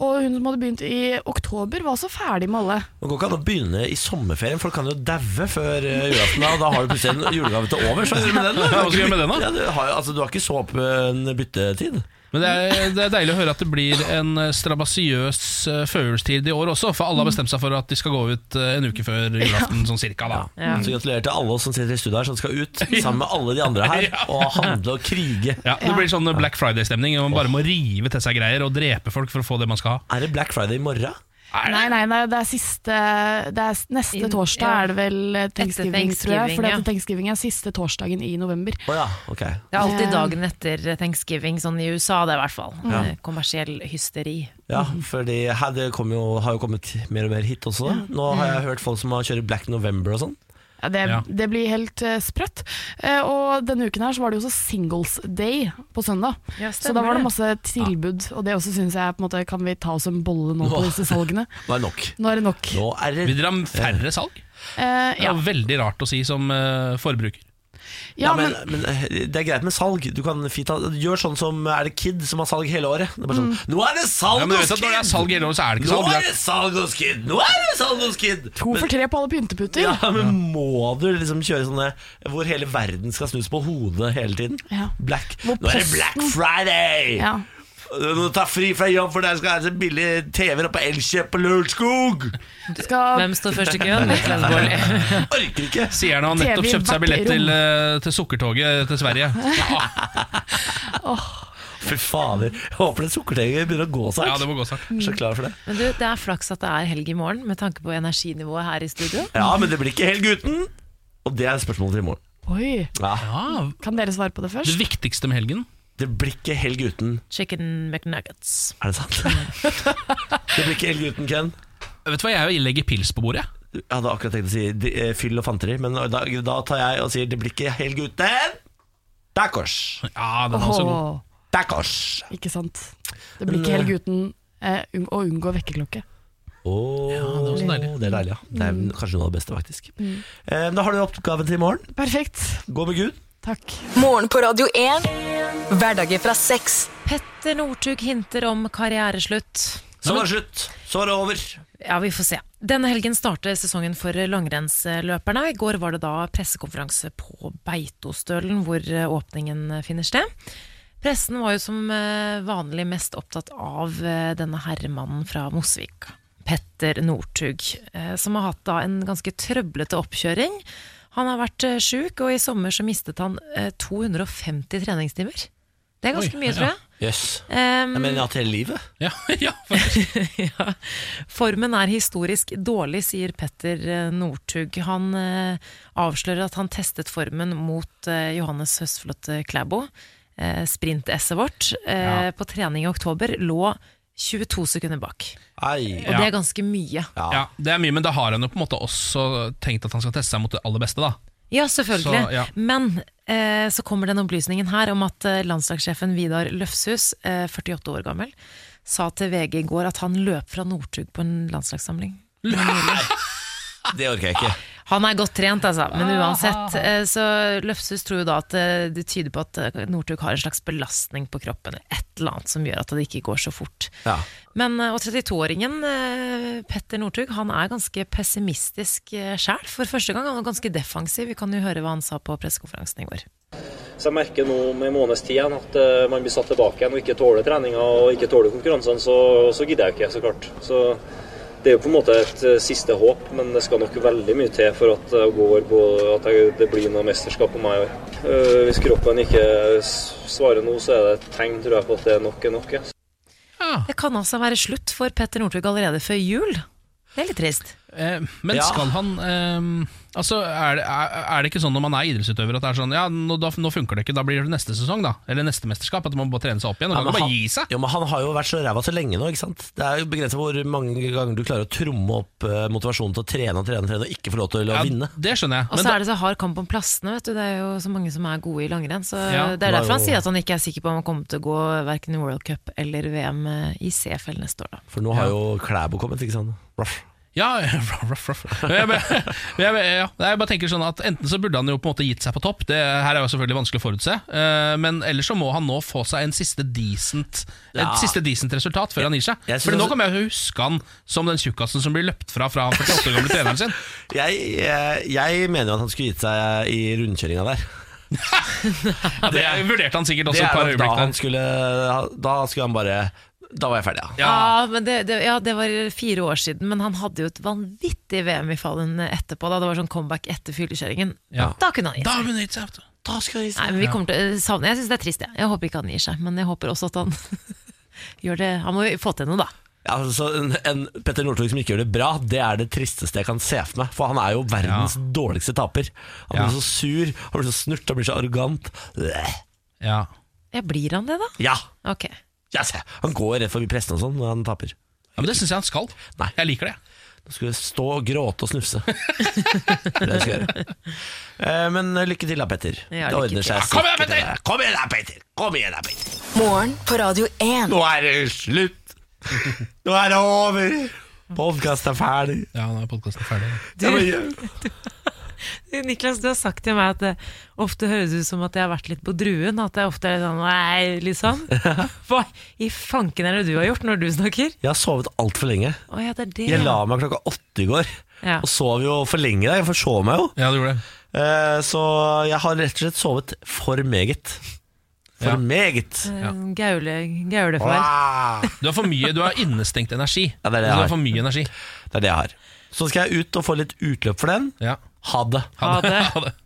Og hun som hadde begynt i oktober var også ferdig med alle. Det går ikke an å begynne i sommerferien. Folk kan jo daue før eh, julaften. da, Og da har du plutselig en julegave til over. Så hva gjør du med den? da? Ja, hva skal du gjøre med den da? Ja, du, har, jo- altså, du har ikke så åpen byttetid. Men det er, det er deilig å høre at det blir en eh, strabasiøs eh, førjulstid i år også, for alle har bestemt seg for at de skal gå ut eh, en uke før julaften, sånn cirka. da Ja. Så gratulerer til alle oss som sitter i studio her, som skal ut sammen med alle de andre her og handle og krige. Ja, det blir sånn Black Friday-stemning. og Man bare må rive til seg greier og drepe folk for å få det man skal ha. Er det Black Friday i morgen? Nei, nei, nei, det er siste Det er s- neste torsdag ja. er det vel eh, thanksgiving, Etter tror jeg. For Thanksgiving, ja. thanksgiving er siste torsdagen i november. Å ja, ok. Det er alltid Eh. dagen etter thanksgiving, sånn i USA det er i hvert fall. Ja. Eh, Kommersiell hysteri. Ja, fordi her det kom jo, har jo kommet mer og mer hit også. Da. Nå har jeg hørt folk som har kjører Black November og sånn. Ja, det, Ja. det blir helt eh, sprøtt. Eh, og denne uken her så var det jo også Singles Day på søndag. Ja, så stemmer da var det det. masse tilbud, og det også syns jeg på en måte Kan vi ta oss en bolle nå på Nå. disse salgene? Nå er det nok. Nå er det nok. Nå er det Vil dere ha færre salg? Eh, Det er ja. jo veldig rart å si som eh, forbruker. Ja, men, men, eh, Det er greit med salg. Du kan fint ha, gjør sånn som er det Kid, som har salg hele året. Det er bare sånn, Mm. Nå er det salg Ja, men du vet hos at når det er Kid! salg hele året, så er det ikke Nå salg. Det er er- det salg hos Kid! Nå er det salg hos Kid! To for tre på alle pynteputer. Ja, men Må du liksom kjøre sånne hvor hele verden skal snus på hodet hele tiden? Ja. Black. Hvor Nå er det posten- Black Friday! Ja. Nå tar fri fra jobb, for der skal jeg se billig TV-er på Elkjøp på Lørenskog! Hvem står først i køen? Niklas Baarli. Orker ikke! Sier han har nettopp TV kjøpt seg billett hvert rom. til, eh, til sukkertoget til Sverige. Ja, Fy fader. Jeg håper det sukkertøyet begynner å gå snart. Ja, det må gå snart. Jeg er Så klar for det. Men du, det er flaks at det er helg i morgen, med tanke på energinivået her i studio. Ja, men det blir ikke helg uten! Og det er spørsmålet til i morgen. Oi. Ja. Kan dere svare på det først? viktigste med helgen? Det blir ikke helg uten. Chicken McNuggets. Er det sant? det blir ikke helg uten, Ken. Vet du hva, jeg legger pils på bordet. Jeg hadde akkurat tenkt å si de- eh, fyll og fanteri, men da, da tar jeg og sier det blir ikke helg uten tacos. Ja, altså den er også god. Åh. Tacos. Ikke sant. Det blir ikke helg uten eh, un å unngå vekkerklokke. Åh, var så deilig. Mm. det er deilig, ja. Det er kanskje noe av det beste, faktisk. Eh, da har du oppgaven til i morgen. Perfekt. Gå med Gud. Morgen på Radio 1. Hverdager fra seks. Petter Northug hinter om karriereslutt. Så var det slutt. Så var det over. Ja, vi får se. Denne helgen starter sesongen for langrennsløperne. I går var det da pressekonferanse på Beitostølen, hvor eh, åpningen eh, finner sted. Pressen var jo som eh, vanlig mest opptatt av eh, denne herremannen fra Mosvik, Petter Northug, eh, som har hatt da en ganske trøblete oppkjøring. Han har vært eh, sjuk, og i sommer så mistet han eh, 250 treningstimer. Det er ganske Oi, mye, tror jeg. ja. Yes. Ehm, jeg mener at hele livet. Formen er historisk dårlig, sier Petter eh, Northug. Han eh, avslører at han testet formen mot eh, Johannes Høsflot Klæbo. Eh, Sprint-esset vårt eh, på trening i oktober lå 22 sekunder bak. Og det er ganske mye. ja. Det er mye, men da har han jo på en måte også tenkt at han skal teste seg mot det aller beste, da. Ja, selvfølgelig. Så, ja. Men eh, så kommer den opplysningen her om at eh, landslagssjefen Vidar Løfshus, eh, 48 år gammel, sa til VG i går at han løp fra Northug på en landslagssamling. Det orker jeg ikke. Han er godt trent, altså, men uansett. eh, Så Løfshus tror jo da at eh, det tyder på at eh, Northug har en slags belastning på kroppen, eller et eller annet som gjør at det ikke går så fort. Ja. Men, eh, og 32-åringen eh, Petter Northug han er ganske pessimistisk eh, sjæl for første gang. Han er ganske defensiv. Vi kan jo høre hva han sa på pressekonferansen i går. Så jeg merker nå om en måneds tid igjen at eh, man blir satt tilbake igjen og ikke tåler treninga og ikke tåler konkurransene, så, så gidder jeg ikke, så klart. Så det er jo på en måte et eh, siste håp, men det skal nok veldig mye til for at jeg går på at jeg, det blir noe mesterskap på meg i år. Eh, Hvis kroppen ikke s- svarer nå, så er det et tegn, tror jeg, på at det er nok er nok. ja. Det kan altså være slutt for Petter Northug allerede før jul. Det er litt trist. Eh, Men Ja. skal han ehm, Altså, er det, er, er det ikke sånn når man er idrettsutøver at det er sånn Ja, nå, da, nå funker det ikke, da blir det neste sesong, da. Eller neste mesterskap. At man må trene seg opp igjen. Og Ja, kan men ikke bare han, gi seg. jo, men han har jo vært så ræva så lenge nå. ikke sant? Det er jo begrensa hvor mange ganger du klarer å tromme opp eh, motivasjonen til å trene og trene og trene og ikke få lov til å vinne. Det skjønner jeg. Og så er det så hard kamp om plassene. vet du Det er jo så mange som er gode i langrenn. Så Ja. Det er derfor han Wow. sier at han ikke er sikker på om han kommer til å gå verken i World Cup eller VM i CFL neste år. Da. For nå har jo Klæbo kommet, ikke sant. Ruff. Ja, ruff, ruff, ruff. Jeg, bare, jeg, bare- ja. jeg bare tenker sånn at Enten så burde han jo på en måte gitt seg på topp, det her er jo selvfølgelig vanskelig å forutse. eh, Men ellers så må han nå få seg en siste decent, Ja. et siste decent resultat før han gir seg. jeg synes Fordi nå også- kommer jeg til å huske han som den tjukkasen som blir løpt fra fra han 48 år gamle treneren sin. Jeg, jeg, jeg mener jo at han skulle gitt seg i rundkjøringa der. Det vurderte han sikkert også Det er et par nok da øyeblikk han der. skulle Da skulle han bare Da var jeg ferdig, ja. Ja, men det, det, ja, det var fire år siden, men han hadde jo et vanvittig VM i Fallen etterpå. Da. Det var sånn comeback etter fyllekjøringen. Ja. Da kunne han gitt Da seg. kunne han gitt seg. Da skulle han gitt Nei, men vi kommer til å savne Jeg syns det er trist, jeg. Jeg håper ikke han gir seg, men jeg håper også at han gjør det Han må jo få til noe, da. Ja, altså, en, en Petter Northug som ikke gjør det bra, det er det tristeste jeg kan se for meg. For han er jo verdens dårligste taper. Han blir Ja. så sur, han blir så snurt, han blir så arrogant. Bleh. Ja. Ja, blir han det, da? Ja! Ok. Ja, se. han går rett forbi pressen og sånn når han taper. Ja, Men det syns jeg han skal. Jeg liker det. Da skulle jeg stå og gråte og snufse. det er det jeg skal gjøre. Eh, Men eh, lykke til da, Petter. Ja, det lykke ordner til. seg. Ja, kom igjen, sikkert. Petter! Kom igjen da, Petter! Kom igjen da, Petter! Morgen på Radio 1. Nå er det slutt! Nå er det over! Podkasten er ferdig. Ja, nå er podkasten ferdig. Du, Eh, Niklas, du har sagt til meg at det ofte høres ut som at jeg har vært litt på druen. At jeg ofte er sånn Nei, litt sånn. Hva i fanken er det du har gjort når du snakker? Jeg har sovet altfor lenge. Å ja, det er det. Jeg la meg klokka åtte i går, Ja. og sov jo for lenge der. Jeg forsov meg jo. Ja, du gjorde det. Eh, Så jeg har rett og slett sovet for meget. For Ja. meget. En Eh, Gaule, gaulefar. Wow. Du har for mye, du har innestengt energi. Ja, det er det du jeg har. har for mye energi. Det er det jeg har. Så skal jeg ut og få litt utløp for den. Ja. Ha det. Ha det. Ha det.